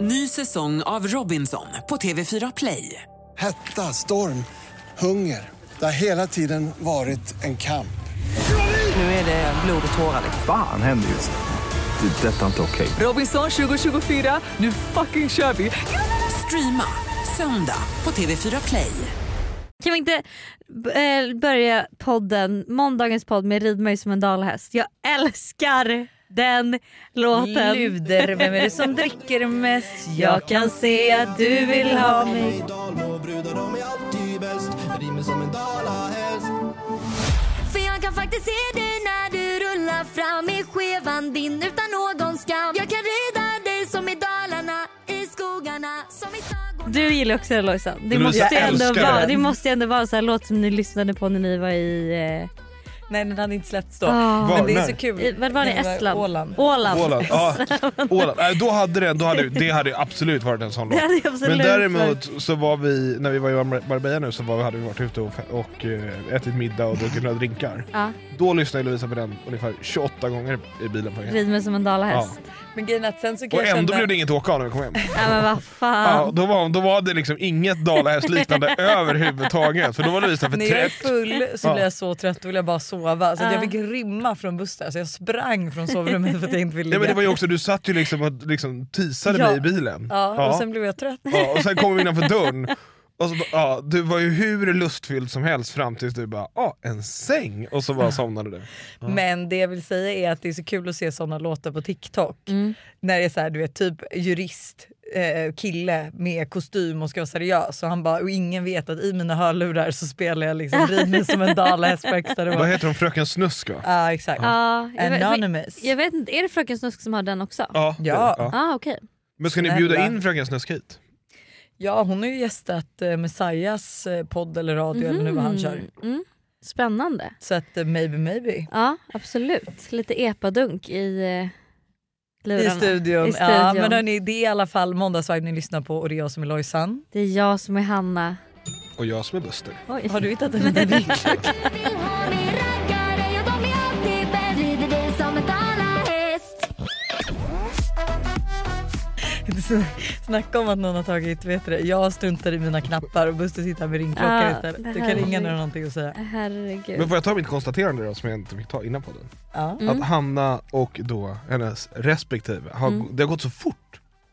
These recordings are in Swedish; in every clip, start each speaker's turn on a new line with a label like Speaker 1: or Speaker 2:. Speaker 1: Ny säsong av Robinson på TV4 Play.
Speaker 2: Hetta, storm, hunger. Det har hela tiden varit en kamp.
Speaker 1: Nu är det blod och tårar. liksom.
Speaker 3: Fan händer just nu. Det. är Detta är inte okej.
Speaker 1: Robinson 2024, nu fucking kör vi! Streama söndag på TV4 Play.
Speaker 4: Kan vi inte b- eh, börja podden, måndagens podd med Rid mig som en dalhäst. Jag älskar den låten.
Speaker 5: Luder, vem är det som dricker mest?
Speaker 4: Jag kan se att du vill ha mig.
Speaker 5: För jag kan faktiskt se dig när du rullar fram i skevan din utan någon skam. Jag kan rida dig som i Dalarna, i skogarna, som i sagorna.
Speaker 4: Du gillar också den Lojsan. Det,
Speaker 6: men
Speaker 4: måste
Speaker 6: jag
Speaker 4: ju ändå
Speaker 6: älskar
Speaker 4: vara-
Speaker 6: den.
Speaker 4: det måste ju ändå vara så här låt som ni lyssnade på när ni var i... Eh,
Speaker 7: Nej den hade inte släppts då.
Speaker 4: ah,
Speaker 6: Var-
Speaker 7: Men det är
Speaker 6: när?
Speaker 7: så kul.
Speaker 4: i- vad var det?
Speaker 7: Nej,
Speaker 4: Estland?
Speaker 7: Åland.
Speaker 4: Åland.
Speaker 6: Åland. Ja, Åland. Nej, då hade det, då hade, det hade absolut varit en sån
Speaker 4: Det
Speaker 6: låt.
Speaker 4: hade jag absolut
Speaker 6: Men
Speaker 4: varit.
Speaker 6: däremot så var vi, när vi var i Mar- Marbella nu så var, vi- hade vi varit ute och, och eh, ätit middag och druckit några drinkar.
Speaker 4: Ja.
Speaker 6: Då lyssnade Lovisa på den ungefär 28 gånger i bilen på vägen hem.
Speaker 4: Rid mig som en dalahäst.
Speaker 7: Men grejen är att sen så kan
Speaker 6: Och
Speaker 7: jag
Speaker 6: ändå
Speaker 7: känna-
Speaker 6: blev det inget åka av när vi kom hem.
Speaker 4: Ja. men vad fan.
Speaker 6: Ja, då, var, då var det liksom inget dalahästliknande överhuvudtaget. För då var Lovisa för
Speaker 7: När jag är
Speaker 6: trött.
Speaker 7: full så
Speaker 6: Ja.
Speaker 7: blir jag så trött och vill jag bara sova. Så att
Speaker 4: Ah.
Speaker 7: jag fick rymma från bussen. Så jag sprang från sovrummet för att jag inte ville
Speaker 6: Ja, men det
Speaker 7: ligga.
Speaker 6: var ju också, du satt ju liksom och liksom teasade
Speaker 7: Ja.
Speaker 6: mig i bilen.
Speaker 7: ja, och sen blev jag trött.
Speaker 6: Ja, och sen kom vi innanför dörren. Och så, ja, du var ju hur lustfylld som helst fram tills du bara ah, en säng och så bara somnade du.
Speaker 7: Men det jag vill säga är att det är så kul att se såna låtar på TikTok.
Speaker 4: Mm.
Speaker 7: När det är så här, du vet, typ jurist, eh, kille med kostym och ska vara seriös. Och, han bara, och ingen vet att i mina hörlurar så spelar jag liksom Rini som en dalahäst på extra
Speaker 6: Vad
Speaker 7: Ja
Speaker 6: heter hon? Fröken Snusk va?
Speaker 7: ah, exakt.
Speaker 4: Ja, jag vet-
Speaker 7: Anonymous.
Speaker 4: Jag vet inte, är det Fröken Snusk som har den också?
Speaker 6: Ja. det är det.
Speaker 7: Ja.
Speaker 4: Ah, okej.
Speaker 6: Men ska ni bjuda in Fröken Snusk hit?
Speaker 7: Ja hon har ju gästat eh, Messias eh, podd eller radio eller nu vad han kör.
Speaker 4: Mm. Spännande.
Speaker 7: Så att eh, maybe maybe.
Speaker 4: Ja, absolut. Lite epadunk i eh,
Speaker 7: I
Speaker 4: lurarna.
Speaker 7: studion.
Speaker 4: I
Speaker 7: Ja,
Speaker 4: studion.
Speaker 7: men hörni, det är i alla fall måndagsvibe ni lyssnar på och det är jag som är Lojsan.
Speaker 4: Det är jag som är Hanna.
Speaker 6: Och jag som är Buster.
Speaker 4: Oj.
Speaker 7: Har du hittat en liten drink?
Speaker 5: Du vill ha mig raggare och de är alltid bäst. Rider dig som en dalahäst.
Speaker 7: Snacka om att någon har tagit, vet du det, jag struntar i mina knappar och Buster sitter här med
Speaker 4: Ja,
Speaker 7: ringklockan
Speaker 4: det
Speaker 7: istället. Du
Speaker 4: här
Speaker 7: kan
Speaker 4: är
Speaker 7: ringa när du
Speaker 4: ju-
Speaker 7: har någonting att säga.
Speaker 4: Herregud.
Speaker 6: Men får jag ta mitt konstaterande då som jag inte fick ta innan podden?
Speaker 7: Ja. Mm.
Speaker 6: Att Hanna och då hennes respektive, har, det har gått så fort.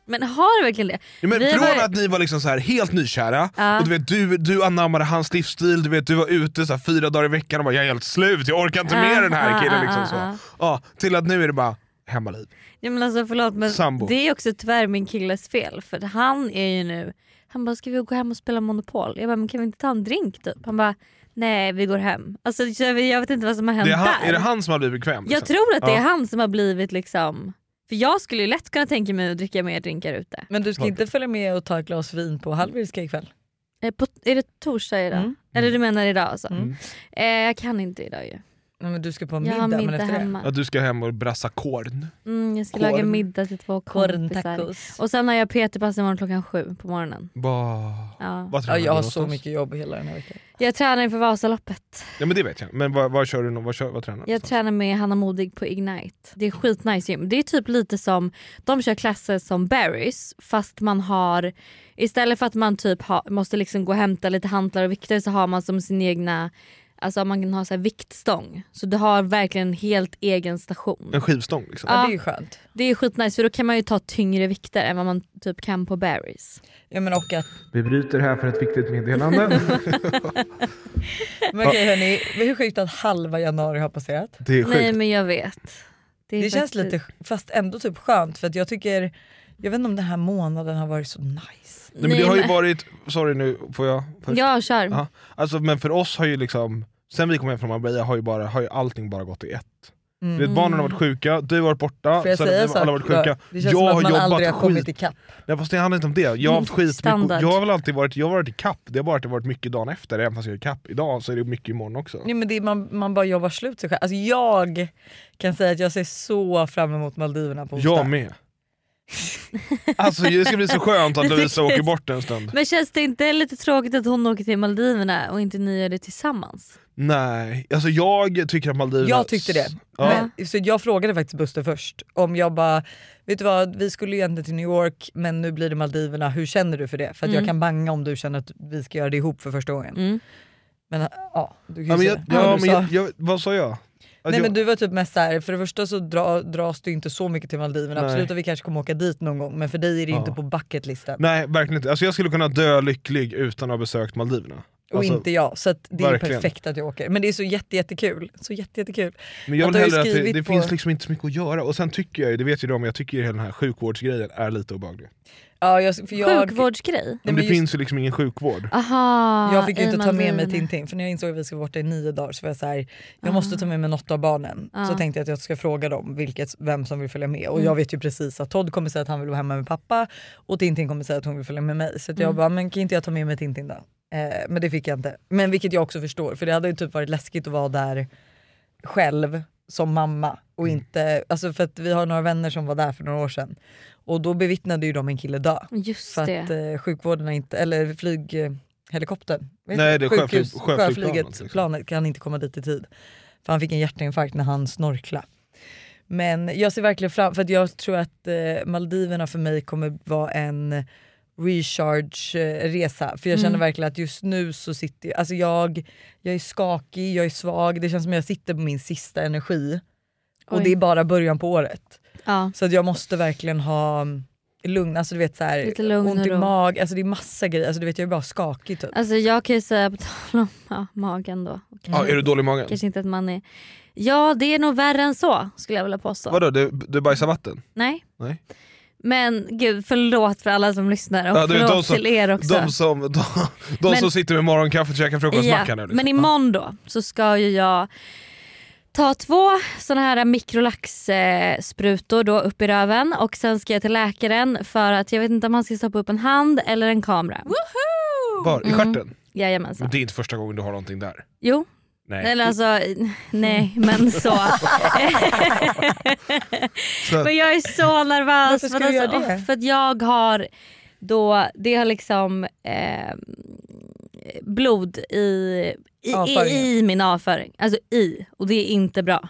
Speaker 4: Men har du verkligen det?
Speaker 6: Ja, men
Speaker 4: Vi
Speaker 6: från
Speaker 4: var-
Speaker 6: att ni var liksom så här helt nykära,
Speaker 4: Ja.
Speaker 6: och du, vet, du, du anammade hans livsstil, du, vet, du var ute så här fyra dagar i veckan och bara “jag är helt slut, jag orkar inte med
Speaker 4: Ja,
Speaker 6: den här
Speaker 4: ja,
Speaker 6: killen”
Speaker 4: ja,
Speaker 6: liksom så.
Speaker 4: ja.
Speaker 6: Ja, till att nu är det bara hemmaliv.
Speaker 4: Ja, men alltså, förlåt men
Speaker 6: Sambo.
Speaker 4: det är också tyvärr min killes fel för han är ju nu, han bara ska vi gå hem och spela Monopol? Jag bara men kan vi inte ta en drink typ? Han bara nej vi går hem. Alltså jag vet jag vet inte vad som har hänt
Speaker 6: Det är, han,
Speaker 4: där.
Speaker 6: är det han som har blivit bekväm?
Speaker 4: Jag
Speaker 6: liksom?
Speaker 4: tror att det är
Speaker 6: Ja.
Speaker 4: han som har blivit liksom, för jag skulle ju lätt kunna tänka mig att dricka mer drinkar ute.
Speaker 7: Men du ska
Speaker 6: Klart.
Speaker 7: inte följa med och ta ett glas vin på Hallwylska ikväll?
Speaker 4: Eh, På, är det torsdag idag?
Speaker 7: Mm.
Speaker 4: Eller du menar idag alltså?
Speaker 7: Mm.
Speaker 4: Eh, jag kan inte idag ju.
Speaker 7: Nej, men du ska på
Speaker 4: Jag
Speaker 7: middag,
Speaker 4: har middag
Speaker 7: men efter det.
Speaker 4: hemma.
Speaker 6: Att du ska hem och brassa korn.
Speaker 4: Mm, jag ska
Speaker 6: Korn.
Speaker 4: laga middag till två kompisar.
Speaker 7: Korntacos.
Speaker 4: Och sen har jag PT-pass imorgon klockan sju på morgonen.
Speaker 6: Bah.
Speaker 4: Ja.
Speaker 6: Vad
Speaker 7: Ja,
Speaker 6: tränar
Speaker 7: jag
Speaker 6: du
Speaker 7: har så
Speaker 6: någonstans?
Speaker 7: mycket jobb hela den här veckan.
Speaker 4: Jag tränar inför Vasaloppet.
Speaker 6: Ja, men det vet jag. Men vad, vad kör du? nå- Vad, kör, vad tränar du?
Speaker 4: Jag
Speaker 6: någonstans?
Speaker 4: tränar med Hanna Modig på Ignite. Det är skitnice gym. Det är typ lite som, de kör klasser som Barry's fast man har, istället för att man typ ha, måste liksom gå och hämta lite hantlar och vikter så har man som sin egna, alltså man kan ha så här viktstång. Så du har verkligen en helt egen station.
Speaker 6: En skivstång liksom.
Speaker 7: Ja,
Speaker 4: Ja.
Speaker 7: det är ju skönt.
Speaker 4: Det är skitnice för då kan man ju ta tyngre vikter än vad man typ kan på Barry's.
Speaker 7: Ja, men och att
Speaker 6: Vi bryter här för ett viktigt meddelande.
Speaker 7: Men okej hörni, hur sjukt att halva januari har passerat.
Speaker 6: det är sjukt.
Speaker 4: Nej men jag vet. är
Speaker 7: Det känns
Speaker 4: faktiskt-
Speaker 7: lite, fast ändå typ skönt för att jag tycker, jag vet inte om den här månaden har varit så nice.
Speaker 6: Nej, men det har ju varit, sorry nu får jag? först?
Speaker 4: Jag kör.
Speaker 6: Ja. Alltså, men för oss har ju liksom, sen vi kom hem från Marbella har ju, bara, har ju allting bara gått i ett. Du vet, barnen har varit sjuka, du har varit borta,
Speaker 7: Mm. Får jag
Speaker 6: sen
Speaker 7: säga
Speaker 6: har
Speaker 7: en sak?
Speaker 6: alla varit sjuka.
Speaker 7: Det känns som
Speaker 6: jag
Speaker 7: att man
Speaker 6: har
Speaker 7: aldrig
Speaker 6: jobbat
Speaker 7: har kommit
Speaker 6: skit.
Speaker 7: ikapp.
Speaker 6: Nej, fast det handlar inte om det. Jag har haft skit
Speaker 4: Standard.
Speaker 6: jag har väl alltid varit, jag har varit i kapp. Det har bara alltid varit mycket dagen efter, även fast jag är i kapp idag så är det mycket imorgon också.
Speaker 7: Nej, men det är, man, man bara jobbar slut sig själv. Alltså, jag kan säga att jag ser så fram emot Maldiverna på onsdag.
Speaker 6: Jag med. Alltså det ska bli så skönt att Lovisa åker bort en stund.
Speaker 4: Men känns det inte lite tråkigt att hon åker till Maldiverna och inte ni gör det tillsammans?
Speaker 6: Nej, alltså jag tycker att Maldiverna...
Speaker 7: Jag tyckte det.
Speaker 6: Ja.
Speaker 7: Men, så jag frågade faktiskt Buster först om jag bara, vet du vad vi skulle ju egentligen till New York men nu blir det Maldiverna, hur känner du för det? För att jag kan banga om du känner att vi ska göra det ihop för första gången. Men ja, du kan ju
Speaker 6: Ja,
Speaker 7: säga vad
Speaker 6: men jag, ja,
Speaker 7: du
Speaker 6: men
Speaker 7: sa.
Speaker 6: jag, jag, vad sa jag? Alltså, Att
Speaker 7: Nej
Speaker 6: jag
Speaker 7: men du var typ mest såhär, för det första så dra, dras du inte så mycket till Maldiverna,
Speaker 6: Nej.
Speaker 7: absolut att vi kanske kommer åka dit någon gång men för dig är det ju
Speaker 6: Ja.
Speaker 7: inte på bucketlistan.
Speaker 6: Nej verkligen inte, alltså, jag skulle kunna dö lycklig utan att ha besökt Maldiverna.
Speaker 7: Och
Speaker 6: Alltså,
Speaker 7: inte jag, så att det är
Speaker 6: verkligen.
Speaker 7: perfekt att jag åker. Men det är så jätte, jättekul. Så jätte, jättekul.
Speaker 6: Men jag
Speaker 7: Att
Speaker 6: vill
Speaker 7: du har
Speaker 6: hellre att
Speaker 7: ju
Speaker 6: det,
Speaker 7: skrivit
Speaker 6: det
Speaker 7: på-
Speaker 6: finns liksom inte så mycket att göra, och sen tycker jag ju, det vet ju de, jag tycker ju hela den här sjukvårdsgrejen är lite obehaglig.
Speaker 7: Ja, jag, för jag,
Speaker 4: Sjukvårdsgrej?
Speaker 6: Men
Speaker 7: men
Speaker 6: det
Speaker 7: just-
Speaker 6: finns ju liksom ingen sjukvård.
Speaker 4: Aha,
Speaker 7: Jag fick ju inte
Speaker 4: i
Speaker 7: ta med mig
Speaker 4: Maldiverna.
Speaker 7: Tintin för när jag insåg att vi skulle vara borta i nio dagar så var jag så här, jag måste ta med mig något av barnen. Så tänkte jag att jag ska fråga dem vilket, vem som vill följa med och jag vet ju precis att Todd kommer säga att han vill vara hemma med pappa och Tintin kommer säga att hon vill följa med mig. Så att jag bara, men kan inte jag ta med mig Tintin då? Eh, men det fick jag inte. Men vilket jag också förstår för det hade ju typ varit läskigt att vara där själv som mamma och inte, alltså för att vi har några vänner som var där för några år sedan och då bevittnade ju de en kille dö.
Speaker 4: Just
Speaker 7: För
Speaker 4: det.
Speaker 7: att eh, sjukvården har inte, eller flyg, eh, helikoptern, vet
Speaker 6: Nej,
Speaker 7: du?
Speaker 6: det är sjöflyg- sjöflygplanet,
Speaker 7: sjöflyget,
Speaker 6: liksom.
Speaker 7: planet kan inte komma dit i tid. För han fick en hjärtinfarkt när han snorkla. Men jag ser verkligen fram för att jag tror att eh, Maldiverna för mig kommer vara en recharge-resa. För jag
Speaker 4: Mm.
Speaker 7: känner verkligen att just nu så sitter jag, alltså jag, jag är skakig, jag är svag, det känns som jag sitter på min sista energi. Och
Speaker 4: Oj.
Speaker 7: det är bara början på året.
Speaker 4: Ja.
Speaker 7: Så att jag måste verkligen ha mm, lugn, alltså du vet så här,
Speaker 4: Lite lugn
Speaker 7: ont
Speaker 4: och
Speaker 7: i
Speaker 4: ro.
Speaker 7: mag, alltså det är massa grejer, alltså du vet jag är bara skakig typ.
Speaker 4: Alltså jag kan ju säga, på tal om ja, magen
Speaker 7: Mm.
Speaker 4: då. Kanske,
Speaker 6: Ja, är du dålig i magen?
Speaker 4: kanske inte att man är... Ja det är nog värre än så skulle jag vilja påstå.
Speaker 6: Vadå, du, du bajsar vatten?
Speaker 4: Nej.
Speaker 6: Nej.
Speaker 4: Men gud förlåt för alla som lyssnar och
Speaker 6: Ja, du, de
Speaker 4: förlåt
Speaker 6: som-
Speaker 4: till er också.
Speaker 6: De som, de, de
Speaker 4: Men-
Speaker 6: som sitter med morgonkaffe och käkar frukostmacka nu.
Speaker 4: Ja,
Speaker 6: Liksom.
Speaker 4: men imorgon då så ska ju jag ta två såna här mikrolaxsprutor då upp i röven och sen ska jag till läkaren för att jag vet inte om han ska stoppa upp en hand eller en kamera.
Speaker 6: liksom. Var?
Speaker 4: Mm.
Speaker 6: I stjärten? Men
Speaker 4: Jajamensan.
Speaker 6: det är inte första gången du har någonting där.
Speaker 4: Jo,
Speaker 6: Nej.
Speaker 4: eller alltså nej men så.
Speaker 6: Så,
Speaker 4: Men jag är så nervös.
Speaker 7: Varför ska
Speaker 4: Men
Speaker 7: du göra
Speaker 4: åh,
Speaker 7: det?
Speaker 4: För att jag har då, det har liksom eh, blod i, i,
Speaker 7: Avföringen.
Speaker 4: i, i min avföring. Alltså i, och det är inte bra.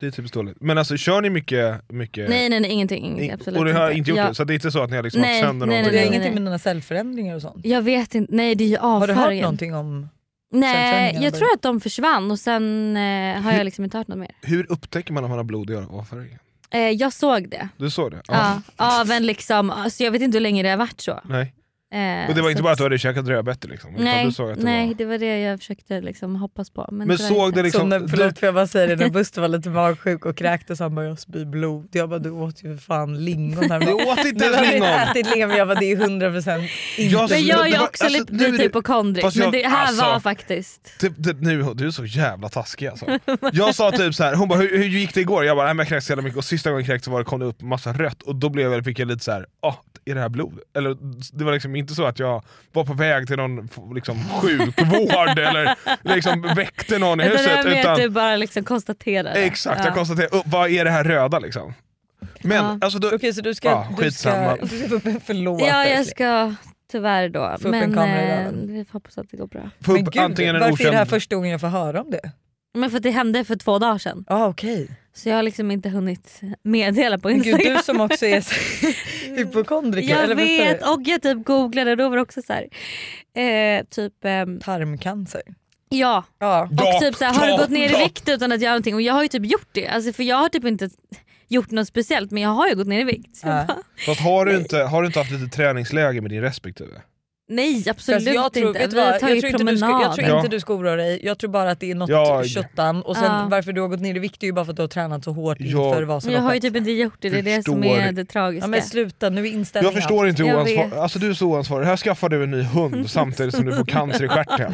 Speaker 6: det är typiskt dåligt. Men alltså kör ni mycket? mycket
Speaker 4: Nej nej nej ingenting.
Speaker 6: in-
Speaker 4: ingenting absolut
Speaker 6: Eh, och det har
Speaker 4: inte.
Speaker 6: inte gjort
Speaker 4: jag,
Speaker 6: det? Så det är inte så att ni har liksom
Speaker 4: Nej,
Speaker 6: haft sönder
Speaker 4: nej,
Speaker 7: Men
Speaker 6: någonting?
Speaker 7: det har
Speaker 4: nej,
Speaker 7: ingenting
Speaker 4: nej.
Speaker 7: med dina cellförändringar och sånt.
Speaker 4: Jag vet inte, nej det är ju
Speaker 7: Har du
Speaker 4: avföringen.
Speaker 7: hört någonting om...
Speaker 4: Nej
Speaker 7: Cellförändringarna
Speaker 4: jag tror att de försvann och sen eh, har jag liksom inte hört något mer.
Speaker 6: Hur upptäcker man om man har blod i avföringen?
Speaker 4: Eh, jag såg det.
Speaker 6: Du såg det?
Speaker 4: Ja, av en liksom, alltså jag vet inte hur länge det har varit så.
Speaker 6: Nej.
Speaker 4: Eh,
Speaker 6: Och det var inte
Speaker 4: så
Speaker 6: bara att du hade käkat rödbetor liksom? utan
Speaker 4: Nej,
Speaker 6: du såg att det
Speaker 4: nej
Speaker 6: var...
Speaker 4: det var det jag försökte liksom hoppas på. Men,
Speaker 6: Men
Speaker 4: tyvärr
Speaker 6: såg
Speaker 4: inte.
Speaker 6: det liksom...
Speaker 7: som när,
Speaker 6: du-
Speaker 7: förlåt får jag bara säga det, när Buster var lite magsjuk och kräktes han bara jag spyr blod. Jag bara du åt ju för fan lingon här.
Speaker 6: Du åt inte
Speaker 7: Du
Speaker 6: ens
Speaker 7: hade inte
Speaker 6: lingon!
Speaker 7: ätit lingon men jag bara det är 100% inte.
Speaker 6: Jag-
Speaker 4: Men jag är
Speaker 6: Det
Speaker 4: ju
Speaker 6: var-
Speaker 4: också
Speaker 6: alltså,
Speaker 4: lite,
Speaker 6: nu är
Speaker 4: lite
Speaker 6: det-
Speaker 4: hypokondrisk
Speaker 6: Fast
Speaker 4: men
Speaker 6: jag-
Speaker 4: det här var
Speaker 6: alltså-
Speaker 4: faktiskt...
Speaker 6: Typ, det, nu, du är så jävla taskig alltså. Jag sa typ så här, hon bara hur, hur gick det igår? Jag bara "Nej, men jag kräktes jävla mycket och sista gången jag kräktes var det kom det upp massa rött och då blev jag, fick jag lite så här, ah, är det här blod? Eller det var liksom inte så att jag var på väg till någon liksom, sjukvård eller liksom, väckte någon i
Speaker 4: Det där
Speaker 6: huset.
Speaker 4: med att du
Speaker 6: Utan,
Speaker 4: bara liksom konstaterade.
Speaker 6: exakt, jag
Speaker 4: Ja.
Speaker 6: konstaterade, "Oh, vad är det här röda liksom? Men
Speaker 4: Ja.
Speaker 6: alltså, då,
Speaker 7: Okej så du ska,
Speaker 6: Ja,
Speaker 7: du ska,
Speaker 6: skitsamma.
Speaker 7: du ska få upp en förlåt.
Speaker 4: Ja jag
Speaker 7: älskling.
Speaker 4: ska tyvärr då.
Speaker 7: Få upp en
Speaker 4: men
Speaker 7: kamera i
Speaker 4: eh,
Speaker 7: röven.
Speaker 4: vi får hoppas att det går bra.
Speaker 6: få
Speaker 7: Men
Speaker 6: upp
Speaker 7: gud,
Speaker 6: antingen en
Speaker 7: varför är det här
Speaker 6: okänd...
Speaker 7: första gången jag får höra om det?
Speaker 4: Men för att det hände för två dagar sedan.
Speaker 7: Ah, okej.
Speaker 4: Så jag har liksom inte hunnit meddela på
Speaker 7: Men gud
Speaker 4: Instagram.
Speaker 7: du som också är så hypokondriker.
Speaker 4: jag
Speaker 7: eller vad heter
Speaker 4: vet
Speaker 7: det?
Speaker 4: och jag typ googlade och då var det också så här, eh, typ ehm,
Speaker 7: Tarmcancer.
Speaker 4: ja
Speaker 7: Ja.
Speaker 4: och
Speaker 6: Gap,
Speaker 4: typ så här, har du
Speaker 6: gap,
Speaker 4: gått ner i
Speaker 6: gap.
Speaker 4: vikt utan att göra någonting och jag har ju typ gjort det. Alltså, för jag har typ inte gjort något speciellt men jag har ju gått ner i vikt. Så jag
Speaker 7: Ja.
Speaker 4: bara,
Speaker 6: Fast har, du inte, har du inte haft lite träningsläge med din respektive?
Speaker 4: nej absolut
Speaker 7: Fast jag tror,
Speaker 4: inte.
Speaker 7: vet du
Speaker 4: Vi
Speaker 7: vad,
Speaker 4: har
Speaker 7: jag tror
Speaker 4: tagit
Speaker 7: inte, du ska,
Speaker 4: promenad.
Speaker 7: jag tror
Speaker 6: Ja.
Speaker 7: inte du ska oroa dig, jag tror bara att det är något
Speaker 6: Jag-
Speaker 7: köttan och sen
Speaker 4: Ja.
Speaker 7: varför du har gått ner i vikt är ju bara för att du har tränat så hårt
Speaker 6: Jag-
Speaker 7: inför Vasaloppet.
Speaker 4: jag har ju typ inte gjort det, det är det som
Speaker 6: Förstår.
Speaker 4: är det tragiska.
Speaker 7: ja, men sluta, nu är inställningen
Speaker 6: Jag förstår inte hur
Speaker 4: Jag
Speaker 6: oansvar-
Speaker 4: vet.
Speaker 6: alltså du är så oansvarig. Här skaffar du en ny hund samtidigt som du får cancer i stjärten.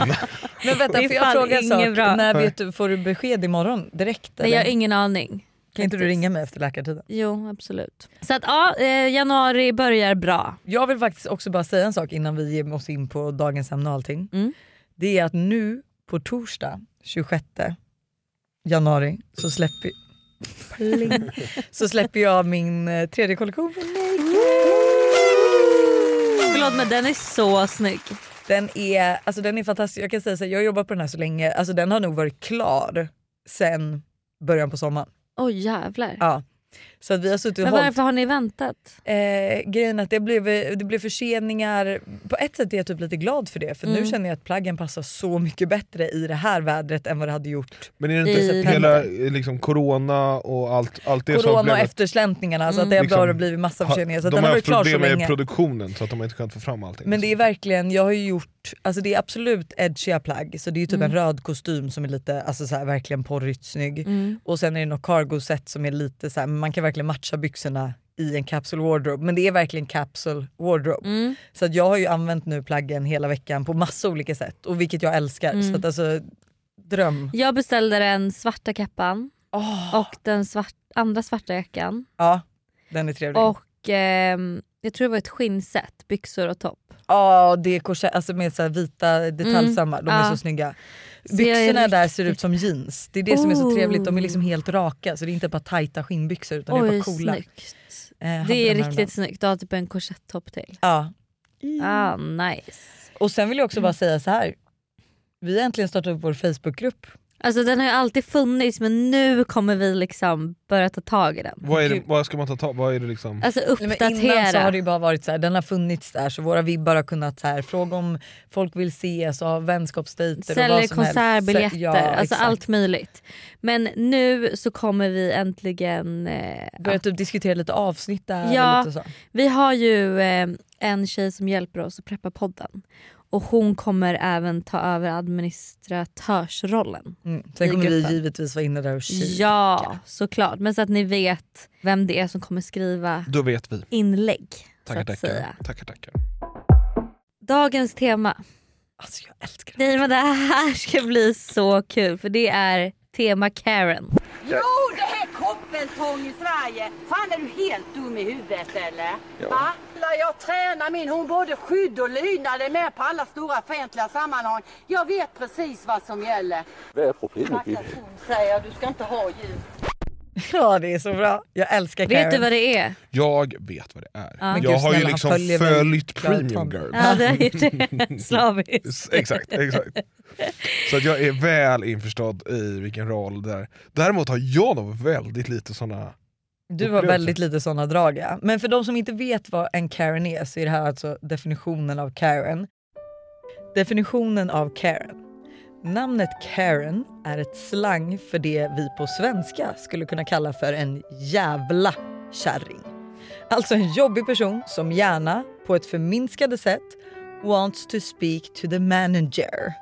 Speaker 7: Men vänta,
Speaker 4: Det är
Speaker 7: får jag
Speaker 4: fan
Speaker 7: fråga en
Speaker 4: inget
Speaker 7: sak?
Speaker 4: bra.
Speaker 7: När vet du, får du besked imorgon direkt?
Speaker 4: Nej,
Speaker 7: eller?
Speaker 4: jag har ingen aning.
Speaker 7: kan inte du
Speaker 4: faktiskt.
Speaker 7: ringa mig efter läkartiden?
Speaker 4: Jo absolut. Så att ja, eh, januari börjar bra.
Speaker 7: Jag vill faktiskt också bara säga en sak innan vi ger oss in på dagens ämne och allting.
Speaker 4: Mm.
Speaker 7: Det är att nu på torsdag 26 januari så släpper, så släpper jag min eh, tredje kollektion.
Speaker 4: Förlåt men den är så snygg.
Speaker 7: Den är, alltså den är fantastisk. Jag kan säga så här, jag har jobbat på den här så länge, alltså den har nog varit klar sen början på sommaren.
Speaker 4: Oj jävlar.
Speaker 7: Ja. Så att vi har suttit och
Speaker 4: Men
Speaker 7: hållit.
Speaker 4: varför har ni väntat?
Speaker 7: Eh, grejen är att det blev, det blev förseningar. På ett sätt är jag typ lite glad för det för
Speaker 6: Mm.
Speaker 7: nu känner jag att plaggen passar så mycket bättre i det här vädret än vad det hade gjort.
Speaker 6: Men är det inte
Speaker 4: I-
Speaker 6: hela eh, liksom, corona och allt, allt det som
Speaker 7: Corona
Speaker 6: blev
Speaker 7: och
Speaker 6: att-
Speaker 7: efterslänterna så att det har
Speaker 6: Liksom,
Speaker 7: bara blivit massa
Speaker 6: ha-
Speaker 7: förseningar. Så att
Speaker 6: de
Speaker 7: den
Speaker 6: har
Speaker 7: har varit
Speaker 6: haft
Speaker 7: klar så
Speaker 6: problem med
Speaker 7: länge.
Speaker 6: produktionen så att de inte kunnat få fram allting.
Speaker 7: Men det är verkligen, jag har ju gjort, alltså det är absolut edgiga plagg så det är ju typ
Speaker 6: Mm.
Speaker 7: en röd kostym som är lite, alltså så här, verkligen porrigt snygg.
Speaker 6: Mm.
Speaker 7: Och sen är det något cargo set som är lite så här, man kan verkligen matcha byxorna i en capsule wardrobe. Men det är verkligen capsule wardrobe.
Speaker 4: Mm.
Speaker 7: Så att jag har ju använt nu plaggen hela veckan på massa olika sätt och vilket jag älskar.
Speaker 4: Mm.
Speaker 7: Så att alltså, dröm.
Speaker 4: Jag beställde den svarta kappan och den svart, andra svarta jackan.
Speaker 7: Ja, den är trevlig. Ja
Speaker 4: Och ehm, jag tror det var ett skinnset, byxor och topp.
Speaker 7: det är korsett, alltså med så här vita detaljsamma, de är
Speaker 4: Mm. Ja.
Speaker 7: så snygga.
Speaker 4: Så jag är
Speaker 7: Byxorna där
Speaker 4: riktigt-
Speaker 7: ser ut som jeans. Det är det som är så
Speaker 4: Oh.
Speaker 7: trevligt. De är liksom helt raka så det är inte bara tajta skinnbyxor utan det är
Speaker 4: Oj
Speaker 7: bara coola.
Speaker 4: snyggt.
Speaker 7: Eh, hade
Speaker 4: Det är
Speaker 7: de här
Speaker 4: riktigt snyggt, du har typ en korsettopp till.
Speaker 7: Ja.
Speaker 4: Ah, nice.
Speaker 7: Och sen vill jag
Speaker 4: Mm.
Speaker 7: också bara säga så här. Vi har äntligen startat upp vår Facebookgrupp.
Speaker 4: Alltså den har ju alltid funnits men nu kommer vi liksom börja ta tag i den.
Speaker 6: vad, är det, vad ska man ta tag Vad är det
Speaker 7: Äh.
Speaker 6: liksom?
Speaker 4: Alltså
Speaker 7: Nej, men innan så
Speaker 4: uppdatera.
Speaker 7: har det ju bara varit så här, den har funnits där så våra vibbar har kunnat så här, fråga om folk vill ses och ha vänskapsdejter och
Speaker 4: Säljer
Speaker 7: vad som helst.
Speaker 4: konsertbiljetter,
Speaker 7: Ja,
Speaker 4: alltså
Speaker 7: exakt.
Speaker 4: allt möjligt. Men nu så kommer vi äntligen... Eh,
Speaker 7: Börja typ diskutera lite avsnitt där
Speaker 4: Ja.
Speaker 7: och lite så.
Speaker 4: vi har ju eh, en tjej som hjälper oss att preppa podden. Och hon kommer även ta över administratörsrollen. typ.
Speaker 7: Mm.
Speaker 4: I
Speaker 7: Sen kommer vi
Speaker 4: gruppen.
Speaker 7: givetvis vara inne där och kika.
Speaker 4: Ja, såklart. Men så att ni vet vem det är som kommer skriva
Speaker 6: Då vet vi.
Speaker 4: inlägg.
Speaker 6: Tackar
Speaker 4: så att säga.
Speaker 6: tackar. tackar tackar.
Speaker 4: Dagens tema.
Speaker 7: Alltså jag älskar det.
Speaker 4: Nej men det här ska bli så kul för det är tema Karen.
Speaker 8: Jo, det är koppeltång i Sverige. Fan, är du helt dum i huvudet eller? Va? När jag tränar min, hon både skydd och lydnad är med på alla stora offentliga sammanhang. Jag vet precis vad som gäller. Vad är problemet? Stackars hon säger, du ska inte ha djur.
Speaker 7: Ja det är så bra. Jag älskar Karen.
Speaker 4: Vet du vad det är?
Speaker 6: Jag vet vad det är.
Speaker 7: Men
Speaker 6: Jag
Speaker 7: gud,
Speaker 6: har ju
Speaker 7: snälla, han
Speaker 6: liksom
Speaker 7: följer väl
Speaker 6: följt
Speaker 7: Clara
Speaker 6: Premium
Speaker 7: Tom.
Speaker 6: Girl.
Speaker 4: Ja du har gjort det slaviskt.
Speaker 6: Exakt, exakt. Så att jag är väl införstådd i vilken roll det är. Däremot har jag nog väldigt lite såna...
Speaker 7: Du har
Speaker 6: upplevelser.
Speaker 7: väldigt lite sådana drag ja. Men för de som inte vet vad en Karen är så är det här alltså definitionen av Karen. Definitionen av Karen. Namnet Karen är ett slang för det vi på svenska skulle kunna kalla för en jävla kärring. Alltså en jobbig person som gärna, på ett förminskade sätt, wants to speak to the manager.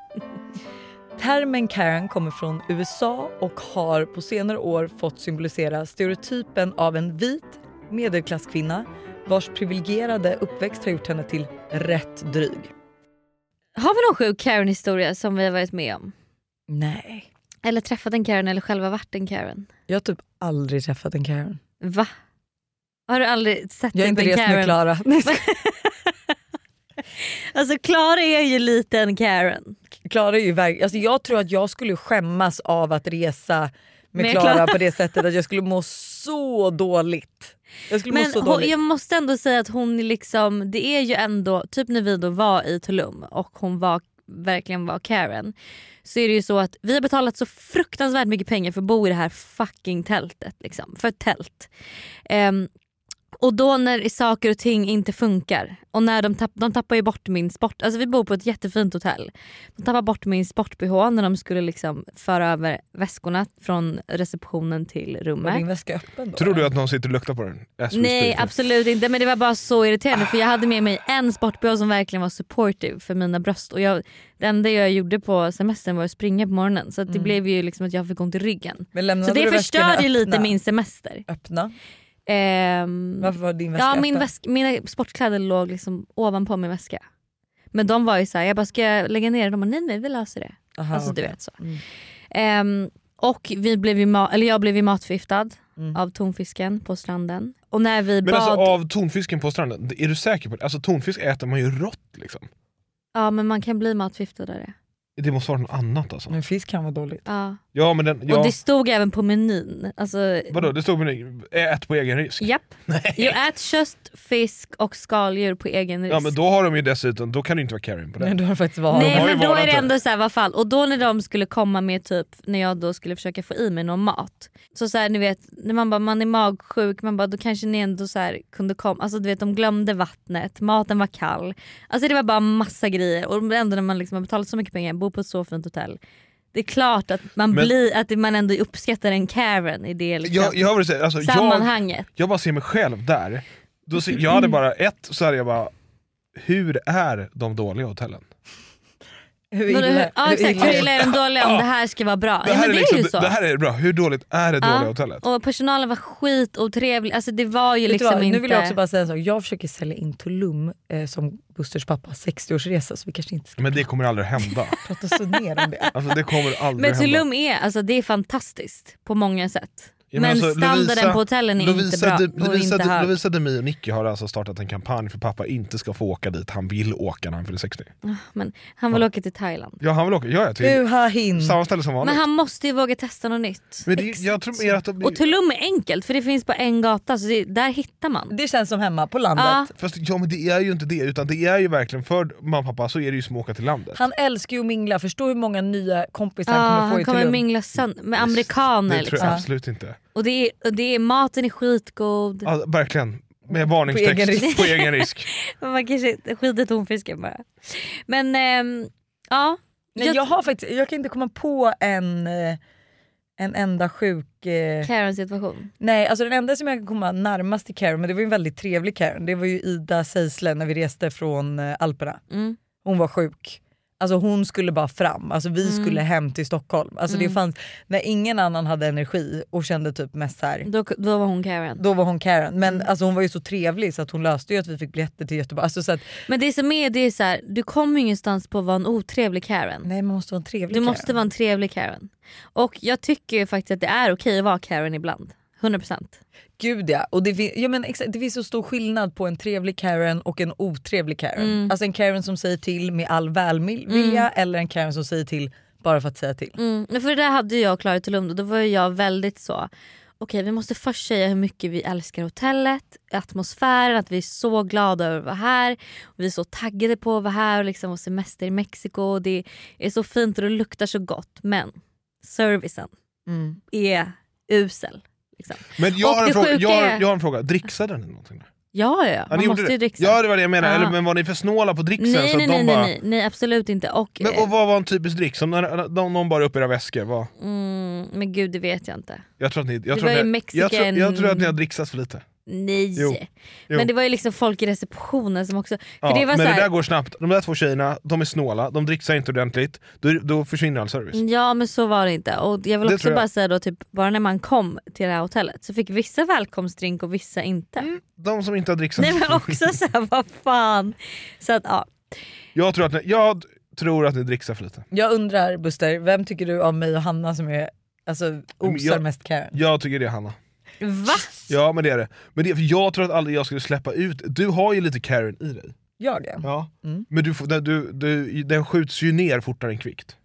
Speaker 7: Termen Karen kommer från USA och har på senare år fått symbolisera stereotypen av en vit medelklasskvinna vars privilegierade uppväxt har gjort henne till rätt dryg.
Speaker 4: Har vi någon sjuk Karen-historia som vi har varit med om?
Speaker 7: Nej.
Speaker 4: Eller träffat en Karen eller själva varit en Karen?
Speaker 7: Jag har typ aldrig träffat en Karen.
Speaker 4: Va? Har du aldrig sett
Speaker 7: Jag har
Speaker 4: typ
Speaker 7: inte
Speaker 4: en
Speaker 7: rest med
Speaker 4: Karen?
Speaker 7: Klara. Nej, jag
Speaker 4: Alltså Klara är ju lite en Karen.
Speaker 7: ska- Klara är ju verkligen... Alltså jag tror att jag skulle skämmas av att resa med
Speaker 4: Med
Speaker 7: Klara
Speaker 4: Klara.
Speaker 7: på det sättet att jag skulle må så dåligt. Jag skulle må
Speaker 4: Men
Speaker 7: så
Speaker 4: hon,
Speaker 7: dåligt.
Speaker 4: jag måste ändå säga att hon är liksom, det är ju ändå, typ när vi då var i Tulum och hon var, verkligen var Karen. Så är det ju så att vi har betalat så fruktansvärt mycket pengar för att bo i det här fucking tältet. Liksom, för ett tält. Ehm, och då när saker och ting inte funkar och när de, tapp, de tappar ju bort min sport, alltså vi bor på ett jättefint hotell. De tappar bort min sport-bh när de skulle liksom föra över väskorna från receptionen till
Speaker 7: Var
Speaker 4: rummet.
Speaker 7: din väska öppen då?
Speaker 6: Tror du att någon sitter och luktar på den? As we
Speaker 4: Nej
Speaker 6: speak.
Speaker 4: absolut inte men det var bara så irriterande för jag hade med mig en sportbh som verkligen var supportive för mina bröst och jag, det enda jag gjorde på semestern var att springa på morgonen så att det blev ju liksom att jag fick ont i ryggen.
Speaker 7: Men lämnade
Speaker 4: Så det
Speaker 7: Mm. du väskorna
Speaker 4: förstörde ju lite
Speaker 7: öppna?
Speaker 4: min semester.
Speaker 7: Öppna?
Speaker 4: Ehm,
Speaker 7: Varför var din väska
Speaker 4: ja, min
Speaker 7: öppen?
Speaker 4: väsk, mina sportkläder låg liksom ovanpå min väska. Men de var ju såhär, jag bara ska jag lägga ner det? De bara nej nej vi löser det.
Speaker 7: Aha,
Speaker 4: alltså
Speaker 7: okej. Mm.
Speaker 4: du vet så. Ehm, och vi blev ju ma- eller jag blev ju matförgiftad
Speaker 7: Mm.
Speaker 4: av tonfisken på stranden. Och när vi
Speaker 6: Men
Speaker 4: bad...
Speaker 6: alltså av tonfisken på stranden, är du säker på det? Alltså tonfisk äter man ju rått liksom.
Speaker 4: Ja men man kan bli matförgiftad av det.
Speaker 6: Det måste vara något annat alltså.
Speaker 7: Men fisk kan vara dåligt.
Speaker 4: Ja.
Speaker 6: Ja men den,
Speaker 4: Och
Speaker 6: ja,
Speaker 4: det stod även på menyn. Alltså,
Speaker 6: vadå det stod menyn, ät på egen risk.
Speaker 4: japp. Jo, ät kött, fisk och skaldjur på egen risk.
Speaker 6: Ja men då har de ju dessutom, då kan det ju inte vara Karin på
Speaker 7: Nej,
Speaker 6: den.
Speaker 7: du har faktiskt varit.
Speaker 4: Nej
Speaker 6: har ju
Speaker 4: men då
Speaker 6: varit
Speaker 4: är det
Speaker 6: det.
Speaker 4: ändå så här, vad fan. Och då när de skulle komma med typ, när jag då skulle försöka få i mig någon mat. Så så här, ni vet, när man bara man är magsjuk, man bara då kanske ni ändå så här, kunde komma. Alltså du vet de glömde vattnet, maten var kall. Alltså det var bara massa grejer. Och ändå när man liksom har betalat så mycket pengar, bor på ett så fint hotell. Det är klart att man,
Speaker 6: Men-
Speaker 4: blir, att man ändå uppskattar en Karen i det liksom,
Speaker 6: Jag, jag, vill säga, alltså, jag,
Speaker 4: sammanhanget.
Speaker 6: jag bara ser mig själv där. Då ser, jag hade bara, ett så hade jag bara, hur är de dåliga hotellen?
Speaker 7: Hur
Speaker 4: Vadå, hur-
Speaker 7: illa?
Speaker 4: Ja exakt, hur illa är de dåliga om
Speaker 6: Ja.
Speaker 4: det här ska vara bra?
Speaker 6: Det
Speaker 4: ja,
Speaker 6: här,
Speaker 4: men det,
Speaker 6: är liksom,
Speaker 4: är ju så.
Speaker 6: det, det här är bra, hur dåligt är det dåliga
Speaker 4: Ja,
Speaker 6: hotellet?
Speaker 4: Och personalen var skitotrevlig, alltså det var ju
Speaker 7: Vet du
Speaker 4: liksom
Speaker 7: vad,
Speaker 4: inte...
Speaker 7: Nu vill jag också bara säga en sak. Jag försöker sälja in Tulum eh, som Busters pappa 60-årsresa så vi kanske inte ska
Speaker 6: Men det kommer aldrig hända.
Speaker 7: prata så ner om det.
Speaker 6: Alltså, det kommer aldrig
Speaker 4: Men
Speaker 6: hända.
Speaker 4: Tulum är, alltså det är fantastiskt på många sätt.
Speaker 6: Ja,
Speaker 4: men
Speaker 6: alltså,
Speaker 4: standarden
Speaker 6: Lovisa-
Speaker 4: på hotellen är inte bra
Speaker 6: Di-
Speaker 4: och
Speaker 6: Lovisa,
Speaker 4: inte
Speaker 6: Di-
Speaker 4: hög.
Speaker 6: Lovisa Demi och Nicky har alltså startat en kampanj för pappa inte ska få åka dit han vill åka när han fyller 60.
Speaker 4: Ah, Men han vill åka till Thailand.
Speaker 6: Ja han vill åka, ja, ja, till
Speaker 7: Buha hin.
Speaker 6: samma ställe som vanligt.
Speaker 4: Men
Speaker 6: Men,
Speaker 4: han måste ju våga testa något nytt.
Speaker 6: det, jag tror mer att de
Speaker 4: Och Tulum är enkelt för det finns bara en gata så det, där hittar man.
Speaker 7: Det känns som hemma på landet.
Speaker 4: Ja,
Speaker 6: Fast ja, men det är ju inte det, utan det är ju verkligen för mamma och pappa så är det ju som att åka till landet.
Speaker 7: Han älskar ju att mingla, förstå hur många nya kompisar
Speaker 4: ja,
Speaker 7: han
Speaker 4: Ah, han
Speaker 7: kommer få i
Speaker 4: kommer
Speaker 7: Tulum.
Speaker 4: mingla sönder med
Speaker 6: det
Speaker 4: amerikaner.
Speaker 6: tror jag
Speaker 4: Liksom.
Speaker 6: absolut inte.
Speaker 4: Och, det är, och det är, maten är skitgod.
Speaker 6: Ja, verkligen, med varningstext
Speaker 7: På egen risk.
Speaker 6: på egen risk.
Speaker 4: Men Man kanske skiter tonfisken bara. Men ehm, ja.
Speaker 7: Nej, jag, har faktiskt, jag kan inte komma på en, eh, en enda sjuk... Eh,
Speaker 4: Karens situation.
Speaker 7: nej, alltså den enda som jag kan komma närmast till Karen, men det var ju en väldigt trevlig Karen, det var ju Ida Seisle när vi reste från eh, Alperna.
Speaker 4: Mm.
Speaker 7: Hon var sjuk. Alltså hon skulle bara fram, alltså vi
Speaker 4: Mm.
Speaker 7: skulle hem till Stockholm. Alltså det fanns, när ingen annan hade energi och kände typ mest så här.
Speaker 4: Då, då var hon Karen.
Speaker 7: Då var hon Karen,
Speaker 4: Mm.
Speaker 7: men alltså hon var ju så trevlig så att hon löste ju att vi fick biljetter till Göteborg. Alltså så att,
Speaker 4: Men det som är, det är så här, du kommer ju ingenstans på att vara en otrevlig Karen.
Speaker 7: nej man måste vara en trevlig
Speaker 4: Du
Speaker 7: Karen.
Speaker 4: måste vara en trevlig Karen. Och jag tycker ju faktiskt att det är okej att vara Karen ibland. 100%.
Speaker 7: Gud ja, och det, fin- ja men exakt, det finns så stor skillnad på en trevlig Karen och en otrevlig Karen.
Speaker 4: Mm.
Speaker 7: Alltså en Karen som säger till med all välvilja eller en Karen som säger till bara för att säga till.
Speaker 4: Mm. men För det där hade jag och Klara Tulum, då. då var ju jag väldigt så, okej vi måste först säga hur mycket vi älskar hotellet, atmosfären, att vi är så glada över att vara här. Och vi är så taggade på att vara här och liksom vår semester i Mexiko. Och det är så fint och det luktar så gott men servicen
Speaker 7: Mm.
Speaker 4: är usel. Liksom.
Speaker 6: Men jag
Speaker 4: Och
Speaker 6: har, en
Speaker 4: det
Speaker 6: fråga,
Speaker 4: sjuka
Speaker 6: jag, har,
Speaker 4: är-
Speaker 6: jag har en fråga, dricksade ni någonting?
Speaker 4: Ja, ja, ja.
Speaker 6: ni
Speaker 4: man
Speaker 6: gjorde
Speaker 4: måste ju
Speaker 6: det.
Speaker 4: dricksa.
Speaker 6: Ja det var det jag menade,
Speaker 4: Ja.
Speaker 6: Eller, men var ni för snåla på dricksen?
Speaker 4: nej,
Speaker 6: så
Speaker 4: nej,
Speaker 6: att de
Speaker 4: nej,
Speaker 6: bara...
Speaker 4: nej, nej, nej, absolut inte. Och, eh,
Speaker 6: Men, och vad var en typisk drick? Som när, när de, någon bar upp era väskor? Vad?
Speaker 4: mm, men gud det vet jag inte.
Speaker 6: Jag tror att ni, jag
Speaker 4: Det
Speaker 6: tror
Speaker 4: var
Speaker 6: att
Speaker 4: ju
Speaker 6: ni, jag tror, jag
Speaker 4: Mexican-
Speaker 6: tror att ni har dricksat för lite.
Speaker 4: Nej.
Speaker 6: Jo. Jo.
Speaker 4: Men det var ju liksom folk i receptionen som också... För
Speaker 6: Ja,
Speaker 4: det var
Speaker 6: men
Speaker 4: så
Speaker 6: det
Speaker 4: här,
Speaker 6: där går snabbt. De där två tjejerna, de är snåla, de dricksar inte ordentligt. Då, då försvinner all service.
Speaker 4: Ja men så var det inte. Och jag vill
Speaker 6: Det
Speaker 4: också
Speaker 6: tror jag.
Speaker 4: bara säga då typ bara när man kom till det här hotellet så fick vissa välkomstdrink och vissa inte.
Speaker 6: De som inte har dricksat.
Speaker 4: Nej men också såhär vad fan. Så att ja.
Speaker 6: Jag tror att ni, jag tror att ni dricksar för lite.
Speaker 7: Jag undrar Buster, vem tycker du av mig och Hanna som är alltså, osar
Speaker 6: jag-
Speaker 7: mest Karen?
Speaker 6: Jag tycker det Hanna.
Speaker 4: Va?
Speaker 6: Ja men det är det. Men det, är- för jag tror att aldrig jag skulle släppa ut, du har ju lite Karen i dig.
Speaker 7: Jag ja.
Speaker 6: Ja.
Speaker 7: Mm.
Speaker 6: Men du, får- den- du, du, den skjuts ju ner fortare än kvickt.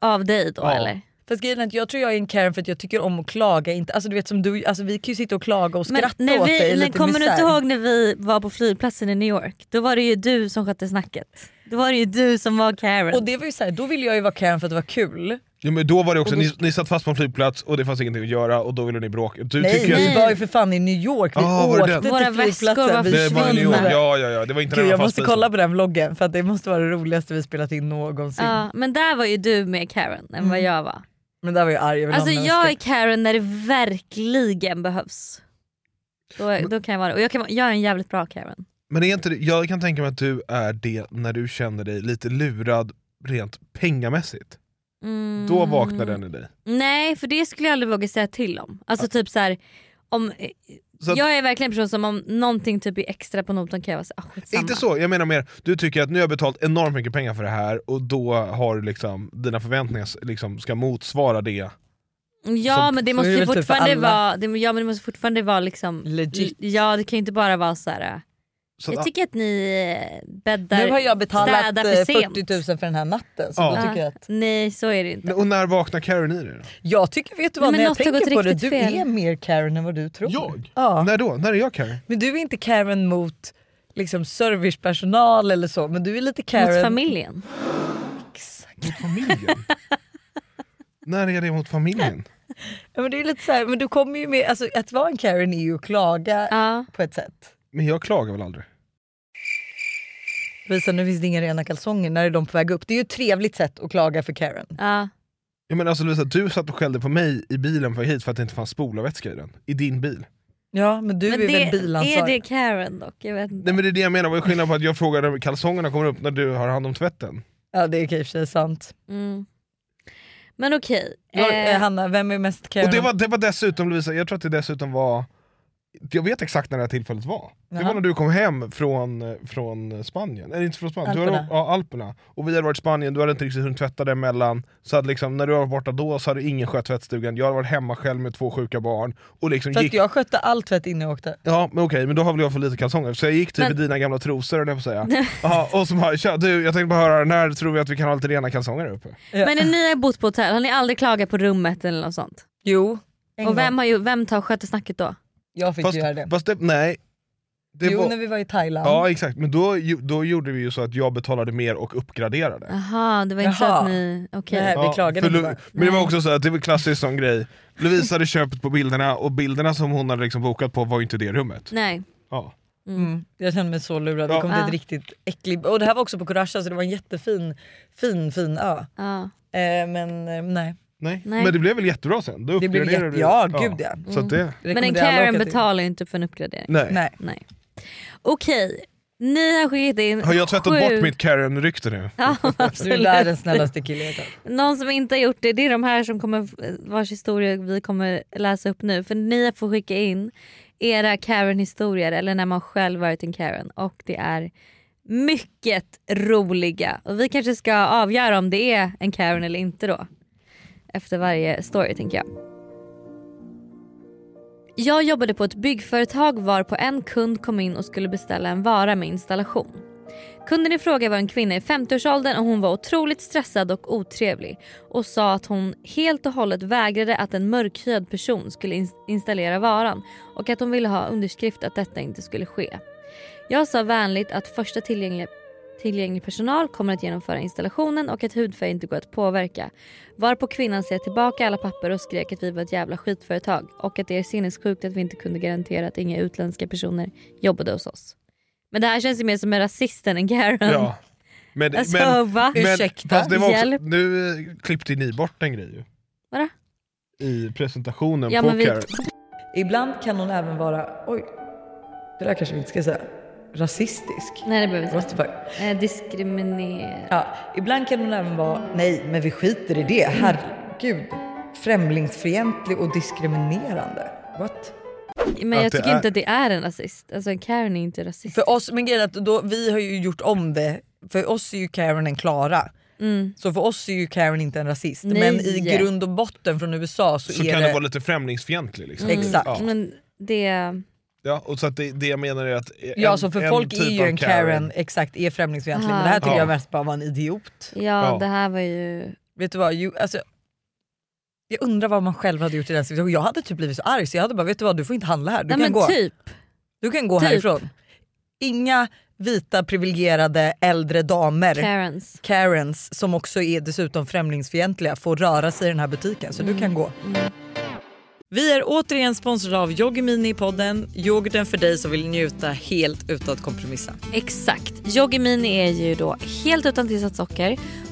Speaker 4: Av dig då
Speaker 6: Ja.
Speaker 4: eller?
Speaker 7: Fast grejen är att jag tror jag är en Karen för att jag tycker om att klaga. Inte, alltså, du vet, som du, alltså, vi kan ju sitta och klaga och skratta
Speaker 4: när
Speaker 7: åt
Speaker 4: vi,
Speaker 7: dig i
Speaker 4: när-
Speaker 7: lite
Speaker 4: kommer du
Speaker 7: misär.
Speaker 4: inte ihåg när vi var på flygplatsen i New York? Då var det ju du som skötte snacket. Då var det ju du som var Karen.
Speaker 7: Och det var ju så här, då ville jag ju vara Karen för att det var kul.
Speaker 6: Ja, men då var det också,
Speaker 7: Och då-
Speaker 6: ni, ni satt fast på en flygplats och det fanns ingenting att göra och då ville ni bråka. Du
Speaker 7: Nej,
Speaker 6: tycker
Speaker 7: vi
Speaker 6: att-
Speaker 7: var ju för fan i New York, vi
Speaker 6: Ah, var det
Speaker 7: åkte
Speaker 6: den?
Speaker 7: till
Speaker 4: Våra väskor var
Speaker 7: flygplatsen. vi
Speaker 6: Det var i New York,
Speaker 7: svindlade.
Speaker 6: ja ja ja. Det var inte när
Speaker 7: Gud,
Speaker 6: man
Speaker 7: jag
Speaker 6: var
Speaker 7: måste
Speaker 6: fastspisen.
Speaker 7: kolla på den vloggen för att det måste vara det roligaste vi spelat in någonsin.
Speaker 4: Ja, men där var ju du med Karen än vad jag var.
Speaker 7: Men där var jag arg över
Speaker 4: Alltså
Speaker 7: namnen,
Speaker 4: jag är
Speaker 7: Mm. ska-
Speaker 4: Karen när det verkligen behövs. Då, då kan jag vara det. Och jag, kan, vara- jag är en jävligt bra Karen.
Speaker 6: Men är inte det, jag kan tänka mig att du är det när du känner dig lite lurad rent pengamässigt.
Speaker 4: Mm.
Speaker 6: Då vaknar den i dig.
Speaker 4: Nej för det skulle jag aldrig våga säga till om. Alltså typ så här, om, eh,
Speaker 6: Så att,
Speaker 4: jag är verkligen en person som om någonting typ är extra på notan kan jag vara såhär, ah, skitsamma.
Speaker 6: inte så, jag menar mer, du tycker att nu har jag betalat enormt mycket pengar för det här och då har du liksom, dina förväntningar liksom ska motsvara det.
Speaker 4: Ja
Speaker 6: Som-
Speaker 4: men det
Speaker 7: så
Speaker 4: måste
Speaker 7: är det
Speaker 4: ju
Speaker 7: väl typ för
Speaker 4: fortfarande
Speaker 7: alla.
Speaker 4: vara, det, ja, men det måste fortfarande vara liksom
Speaker 7: Legit.
Speaker 4: Ja det kan ju inte bara vara så här. eh,
Speaker 6: Så
Speaker 4: jag
Speaker 6: att-
Speaker 4: tycker att ni eh, bäddar
Speaker 7: Nu har jag betalat
Speaker 4: städar
Speaker 7: eh,
Speaker 4: för sent.
Speaker 7: 40 000 för den här natten. Så
Speaker 6: Ja.
Speaker 7: då tycker jag, att,
Speaker 4: Nej så är det inte.
Speaker 6: Och när vaknar Karen i det då?
Speaker 7: jag tycker, vet du vad,
Speaker 4: Nej, men
Speaker 7: när jag
Speaker 4: något har gått
Speaker 7: tänker på det, du
Speaker 4: riktigt fel.
Speaker 7: är mer Karen än vad du tror.
Speaker 6: Jag?
Speaker 7: Ja.
Speaker 6: När då? När är jag Karen?
Speaker 7: Men du är inte Karen mot liksom, servicepersonal eller så, men du är lite Karen...
Speaker 4: Mot familjen.
Speaker 6: Mot familjen? när är det mot familjen?
Speaker 7: Ja, men, det är lite så här, men du kommer ju med, alltså, att vara en Karen är ju att klaga
Speaker 4: Ja.
Speaker 7: på ett sätt.
Speaker 6: Men jag klagar väl aldrig?
Speaker 7: Visa, nu finns det inga rena kalsonger, när är de på väg upp? Det är ju ett trevligt sätt att klaga för Karen.
Speaker 4: Ja.
Speaker 6: Jag menar, alltså, Lovisa, du satt och skällde på mig i bilen på väg hit för att det inte fanns spolarvätska i den. I din bil.
Speaker 7: Ja, men du
Speaker 4: Men
Speaker 7: är
Speaker 4: det,
Speaker 7: väl bilansvarig?
Speaker 4: är det Karen dock? Jag vet inte.
Speaker 6: Nej men det är det jag menar, vad är skillnaden på att jag frågar om kalsongerna kommer upp när du har hand om tvätten?
Speaker 7: Ja, det är i och för sig sant.
Speaker 4: Mm. Men okej.
Speaker 7: Lor-
Speaker 4: eh,
Speaker 7: eh, Hanna, vem är mest Karen?
Speaker 6: Och det var, det var dessutom Lovisa, jag tror att det dessutom var jag vet exakt när det här tillfället var. Det
Speaker 7: Jaha.
Speaker 6: var när du kom hem från, från Spanien, eller inte från Spanien, Du
Speaker 7: Alperna.
Speaker 6: hade, ja, Alperna. Och vi hade varit i Spanien, du hade inte riktigt hunnit tvätta däremellan. Så att liksom, när du var borta då så hade ingen skött tvättstugan, jag hade varit hemma själv med två sjuka barn. Och liksom
Speaker 7: Fast
Speaker 6: gick...
Speaker 7: jag skötte all tvätt innan jag åkte.
Speaker 6: Ja men okej, men då har väl jag för lite kalsonger. Så jag gick typ
Speaker 4: Men-
Speaker 6: i dina gamla trosor höll jag på att säga. Jaha, och så bara, "Tja, du jag tänkte bara höra, när tror vi att vi kan ha lite rena kalsonger här uppe?
Speaker 4: Men när ni har bott på hotell, har ni aldrig klagat på rummet eller något sånt?
Speaker 7: Jo, en gång.
Speaker 4: Och vem, har ju, vem tar sköter snacket då?
Speaker 7: jag fick
Speaker 6: Fast,
Speaker 7: göra det.
Speaker 6: fast det, nej. Det
Speaker 7: jo,
Speaker 6: var,
Speaker 7: när vi var i Thailand.
Speaker 6: Ja exakt, men då, ju- då gjorde vi ju så att jag betalade mer och uppgraderade.
Speaker 4: Jaha, det var inte så
Speaker 7: Jaha.
Speaker 4: att ni... Okej.
Speaker 7: Nej. vi klagade
Speaker 6: för
Speaker 7: inte
Speaker 6: Lo-
Speaker 7: bara.
Speaker 6: Men det var
Speaker 4: Nej.
Speaker 6: också så att det var klassiskt sån grej. Lovisa hade köpt på bilderna och bilderna som hon hade liksom bokat på var ju inte det rummet.
Speaker 4: Nej.
Speaker 6: Ja.
Speaker 7: Mm. Jag kände mig så lurad. Vi
Speaker 6: Ja.
Speaker 7: kom
Speaker 4: Ja.
Speaker 7: dit riktigt äcklig. Och det här var också på Coracha så det var en jättefin fin, fin ö.
Speaker 4: Ja.
Speaker 7: Eh, men eh, nej.
Speaker 6: Nej.
Speaker 4: Nej.
Speaker 6: Men det blev väl jättebra sen? Då
Speaker 7: Det blev
Speaker 6: uppgraderade
Speaker 7: jätte- ja,
Speaker 6: vi.
Speaker 7: gud, ja.
Speaker 6: Så att det...
Speaker 4: Men en
Speaker 7: Rekommenderar alla att
Speaker 4: Karen
Speaker 7: åka till.
Speaker 4: betalar ju inte för en uppgradering.
Speaker 6: Nej.
Speaker 7: Nej.
Speaker 4: Nej. Okej, ni har skickat in
Speaker 6: Har jag tvättat bort
Speaker 4: sju-
Speaker 6: mitt Karen-rykte nu?
Speaker 4: Ja,
Speaker 7: Du är
Speaker 4: absolut.
Speaker 7: världens snällaste kille jag vet.
Speaker 4: Någon som inte har gjort det, det är de här som kommer, vars historia vi kommer läsa upp nu. För ni får skicka in era Karen-historier eller när man själv varit en Karen och det är mycket roliga. Och vi kanske ska avgöra om det är en Karen eller inte då. Efter varje story tänker jag. Jag jobbade på ett byggföretag varpå en kund kom in och skulle beställa en vara med installation. Kunden i fråga var en kvinna i 50-årsåldern och hon var otroligt stressad och otrevlig och sa att hon helt och hållet vägrade att en mörkhyad person skulle ins- installera varan och att hon ville ha underskrift att detta inte skulle ske. Jag sa vänligt att första tillgängliga Tillgänglig personal kommer att genomföra installationen och att hudfärg inte går att påverka. Varpå kvinnan ser tillbaka alla papper och skrek att vi var ett jävla skitföretag och att det är sinnessjukt att vi inte kunde garantera att inga utländska personer jobbade hos oss. Men det här känns ju mer som en rasist än en Karen.
Speaker 6: Ja. Men,
Speaker 4: Alltså,
Speaker 6: men,
Speaker 4: va?
Speaker 6: men,
Speaker 7: Ursäkta,
Speaker 6: fast det var också,
Speaker 4: hjälp.
Speaker 6: nu eh, klippte ni bort en grej ju.
Speaker 4: Vadå?
Speaker 6: I presentationen
Speaker 4: Ja,
Speaker 6: på
Speaker 4: men vi-
Speaker 6: Karen.
Speaker 7: Ibland kan hon även vara, oj, det där kanske vi inte ska säga, rasistisk.
Speaker 4: Nej det behöver vi
Speaker 7: What the fuck?
Speaker 4: inte. Eh, diskriminera.
Speaker 7: Ja, ibland kan hon även vara, nej men vi skiter i det, herregud. Främlingsfientlig och diskriminerande. What?
Speaker 4: Men jag
Speaker 6: Att det
Speaker 4: tycker
Speaker 6: är-
Speaker 4: inte att det är en rasist. Alltså en Karen är inte rasist.
Speaker 7: För oss, men grejen är att då, vi har ju gjort om det, för oss är ju Karen en Klara. Så för oss är ju Karen inte en rasist.
Speaker 4: Nej.
Speaker 7: Men i grund och botten från USA så,
Speaker 6: Så
Speaker 7: är
Speaker 6: kan det vara lite främlingsfientlig liksom.
Speaker 7: Exakt.
Speaker 6: Ja.
Speaker 4: Men det...
Speaker 6: Ja, och så att det, det jag menar är att... en-
Speaker 7: Ja, så för folk
Speaker 6: typ
Speaker 7: är ju
Speaker 6: av
Speaker 7: en Karen, exakt, är främlingsfientlig. Men det här tycker
Speaker 6: Ja.
Speaker 7: jag mest bara var en idiot.
Speaker 4: Ja,
Speaker 6: Ja.
Speaker 4: det här var ju...
Speaker 7: Vet du vad, ju, alltså, jag undrar vad man själv hade gjort i den situationen. Jag hade typ blivit så arg så jag hade bara, vet du vad du får inte handla här, du
Speaker 4: Nej
Speaker 7: kan
Speaker 4: men
Speaker 7: gå.
Speaker 4: typ.
Speaker 7: Du kan gå
Speaker 4: Typ.
Speaker 7: härifrån. Inga vita privilegierade äldre damer,
Speaker 4: Karens.
Speaker 7: Karens, som också är dessutom främlingsfientliga, får röra sig i den här butiken. Så du kan gå. Vi är återigen sponsrade av Yoggi Mini i podden. Yoghurten för dig som vill njuta helt utan att kompromissa.
Speaker 4: Exakt. Yoggi Mini är ju då helt utan tillsatt socker,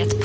Speaker 9: Ett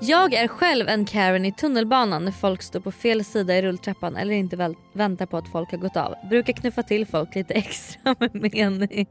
Speaker 4: Jag är själv en Karen i tunnelbanan när folk står på fel sida i rulltrappan eller inte väl, väntar på att folk har gått av. Brukar knuffa till folk lite extra med mening.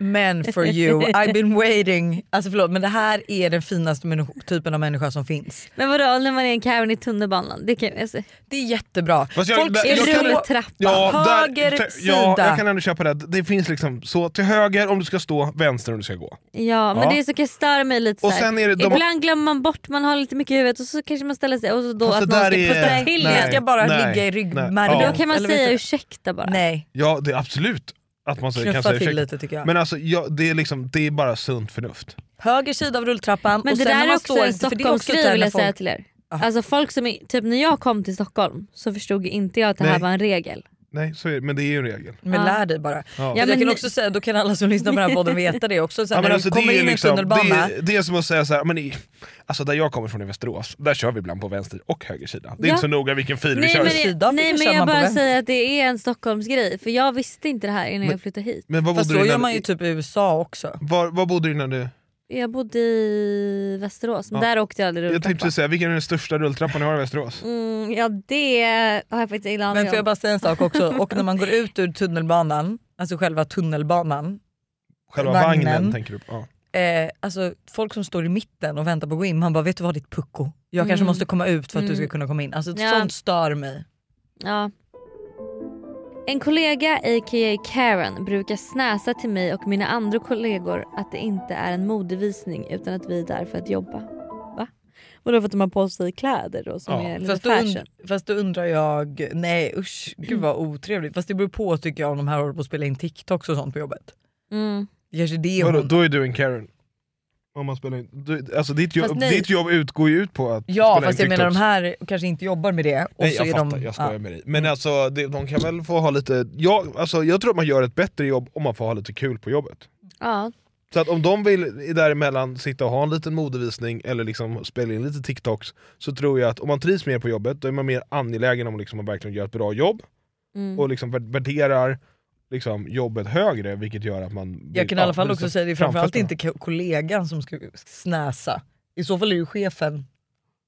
Speaker 7: Amen for you, I've been waiting. Alltså förlåt men det här är den finaste människo- typen av människa som finns.
Speaker 4: Men vadå när man är en Karen i tunnelbanan? Det kan, alltså,
Speaker 7: Det är jättebra.
Speaker 6: Fast jag-
Speaker 7: Folk
Speaker 6: där-
Speaker 7: är
Speaker 6: jag kan-
Speaker 7: rull-
Speaker 4: rulltrappan.
Speaker 7: Höger
Speaker 6: te- Ja,
Speaker 7: sida.
Speaker 6: jag kan ändå köpa det. Det finns liksom så till höger om du ska stå, vänster om du ska gå.
Speaker 4: Ja men
Speaker 6: Ja.
Speaker 4: det är så kan jag störa mig lite
Speaker 6: Och
Speaker 4: så här.
Speaker 6: sen är det de-
Speaker 4: Ibland glömmer man bort, man har lite mycket i huvudet och så kanske man ställer sig och så då
Speaker 6: Fast
Speaker 4: att
Speaker 6: det
Speaker 4: någon ska
Speaker 6: Alltså, där är-
Speaker 4: putta till
Speaker 6: nej,
Speaker 7: Jag
Speaker 4: en.
Speaker 7: ska bara
Speaker 6: nej,
Speaker 7: ligga i
Speaker 6: nej.
Speaker 7: ryggmärgen.
Speaker 6: Ja.
Speaker 4: Då kan man
Speaker 7: Eller vet
Speaker 4: säga
Speaker 7: du-
Speaker 4: ursäkta bara.
Speaker 7: Nej,
Speaker 6: Ja, det är absolut att man säger- kan
Speaker 7: knuffa
Speaker 6: säga
Speaker 7: till
Speaker 6: ursäkta.
Speaker 7: lite tycker jag.
Speaker 6: Men alltså, ja, det, är liksom, det är bara sunt förnuft.
Speaker 7: Höger sida av rulltrappan
Speaker 4: Men
Speaker 7: och
Speaker 4: det
Speaker 7: sen
Speaker 4: där
Speaker 7: när man
Speaker 4: är
Speaker 7: står
Speaker 4: också en
Speaker 7: inte, för det är också
Speaker 4: Stockholmsgrej
Speaker 7: där
Speaker 4: vill
Speaker 7: när
Speaker 4: jag
Speaker 7: folk-
Speaker 4: säga till er.
Speaker 7: Ja.
Speaker 4: Alltså folk som, är- typ när jag kom till Stockholm så förstod ju inte jag att det här
Speaker 6: Nej.
Speaker 4: var en regel.
Speaker 6: Nej, så är det, men det är ju en regel.
Speaker 7: Men
Speaker 4: Ja.
Speaker 7: lär dig bara.
Speaker 6: Ja.
Speaker 4: Ja,
Speaker 7: jag
Speaker 4: men
Speaker 7: kan
Speaker 4: ni-
Speaker 7: också säga, då kan alla som lyssnar på den här podden veta det också. Sen
Speaker 6: Ja,
Speaker 7: när
Speaker 6: men alltså,
Speaker 7: du kommer
Speaker 6: det, är
Speaker 7: in i en
Speaker 6: liksom, det,
Speaker 7: tunnelbana.
Speaker 6: är, det är som att säga så här, men i, alltså där jag kommer från i Västerås, där kör vi ibland på vänster och höger sida. Det är
Speaker 4: Ja.
Speaker 6: inte så noga vilken fil vi
Speaker 4: Nej
Speaker 6: kör.
Speaker 4: men,
Speaker 6: Men,
Speaker 7: i.
Speaker 4: det,
Speaker 7: Sydafrika
Speaker 4: nej
Speaker 7: kör
Speaker 4: men jag
Speaker 7: man på
Speaker 4: bara
Speaker 7: vänster.
Speaker 4: säger att det är en Stockholmsgrej för jag visste inte det här innan jag flyttade hit.
Speaker 6: vad
Speaker 7: Fast
Speaker 6: bodde du
Speaker 7: då gör
Speaker 6: innan?
Speaker 7: man ju typ i USA också.
Speaker 6: var, var bodde du innan du...
Speaker 4: Jag bodde i Västerås men
Speaker 6: Ja.
Speaker 4: där åkte jag aldrig
Speaker 6: Jag
Speaker 4: rulltrappa.
Speaker 6: tänkte säga, vilken är den största rulltrappan ni har i Västerås?
Speaker 4: Mm, ja det har jag faktiskt ingen
Speaker 7: Men
Speaker 4: aning
Speaker 7: får jag
Speaker 4: om.
Speaker 7: bara säga en sak också. Och när man går ut ur tunnelbanan, alltså själva tunnelbanan.
Speaker 6: Själva
Speaker 7: Vagnen.
Speaker 6: vagnen, tänker du på? Ja.
Speaker 7: Eh, alltså folk som står i mitten och väntar på att gå in, man bara vet du vad ditt pucko? Jag kanske
Speaker 4: Mm.
Speaker 7: måste komma ut för att du
Speaker 4: Mm.
Speaker 7: ska kunna komma in. Alltså
Speaker 4: Ja.
Speaker 7: sånt stör mig.
Speaker 4: Ja. En kollega, a.k.a. Karen, brukar snäsa till mig och mina andra kollegor att det inte är en modevisning utan att vi är där för att jobba. Va? Vadå för att de har på sig kläder då som
Speaker 6: Ja,
Speaker 4: är lite
Speaker 7: Fast då, und-
Speaker 4: fashion?
Speaker 7: fast då undrar jag, nej usch gud vad otrevligt. Fast det beror på tycker jag om de här håller på att spela in TikToks och sånt på jobbet.
Speaker 4: Mm.
Speaker 7: Det Kanske det
Speaker 6: Vadå,
Speaker 7: hon...
Speaker 6: då är du en Karen. Om man spelar in. Du, alltså ditt,
Speaker 7: Fast
Speaker 6: jobb,
Speaker 7: nej.
Speaker 6: ditt jobb utgår ju ut på att
Speaker 7: Ja
Speaker 6: spela
Speaker 7: fast
Speaker 6: in
Speaker 7: jag menar de
Speaker 6: TikToks.
Speaker 7: här kanske inte jobbar med det. Och
Speaker 6: Nej
Speaker 7: så
Speaker 6: jag
Speaker 7: är
Speaker 6: fattar,
Speaker 7: de,
Speaker 6: jag skojar
Speaker 7: ja.
Speaker 6: med dig. Men alltså det- de kan väl få ha lite... Jag, alltså, jag tror att man gör ett bättre jobb om man får ha lite kul på jobbet.
Speaker 4: Ja.
Speaker 6: Så att om de vill i- däremellan sitta och ha en liten modevisning eller liksom spela in lite TikToks så tror jag att om man trivs mer på jobbet då är man mer angelägen om liksom att verkligen göra ett bra jobb
Speaker 4: Mm.
Speaker 6: och liksom vär- värderar liksom jobbet högre vilket gör att man... blir-
Speaker 7: Jag kan i alla
Speaker 6: ja, liksom
Speaker 7: fall
Speaker 6: blir
Speaker 7: också
Speaker 6: så-
Speaker 7: säga det är framförallt
Speaker 6: framfötterna.
Speaker 7: inte ko- kollegan som ska snäsa. I så fall är ju chefen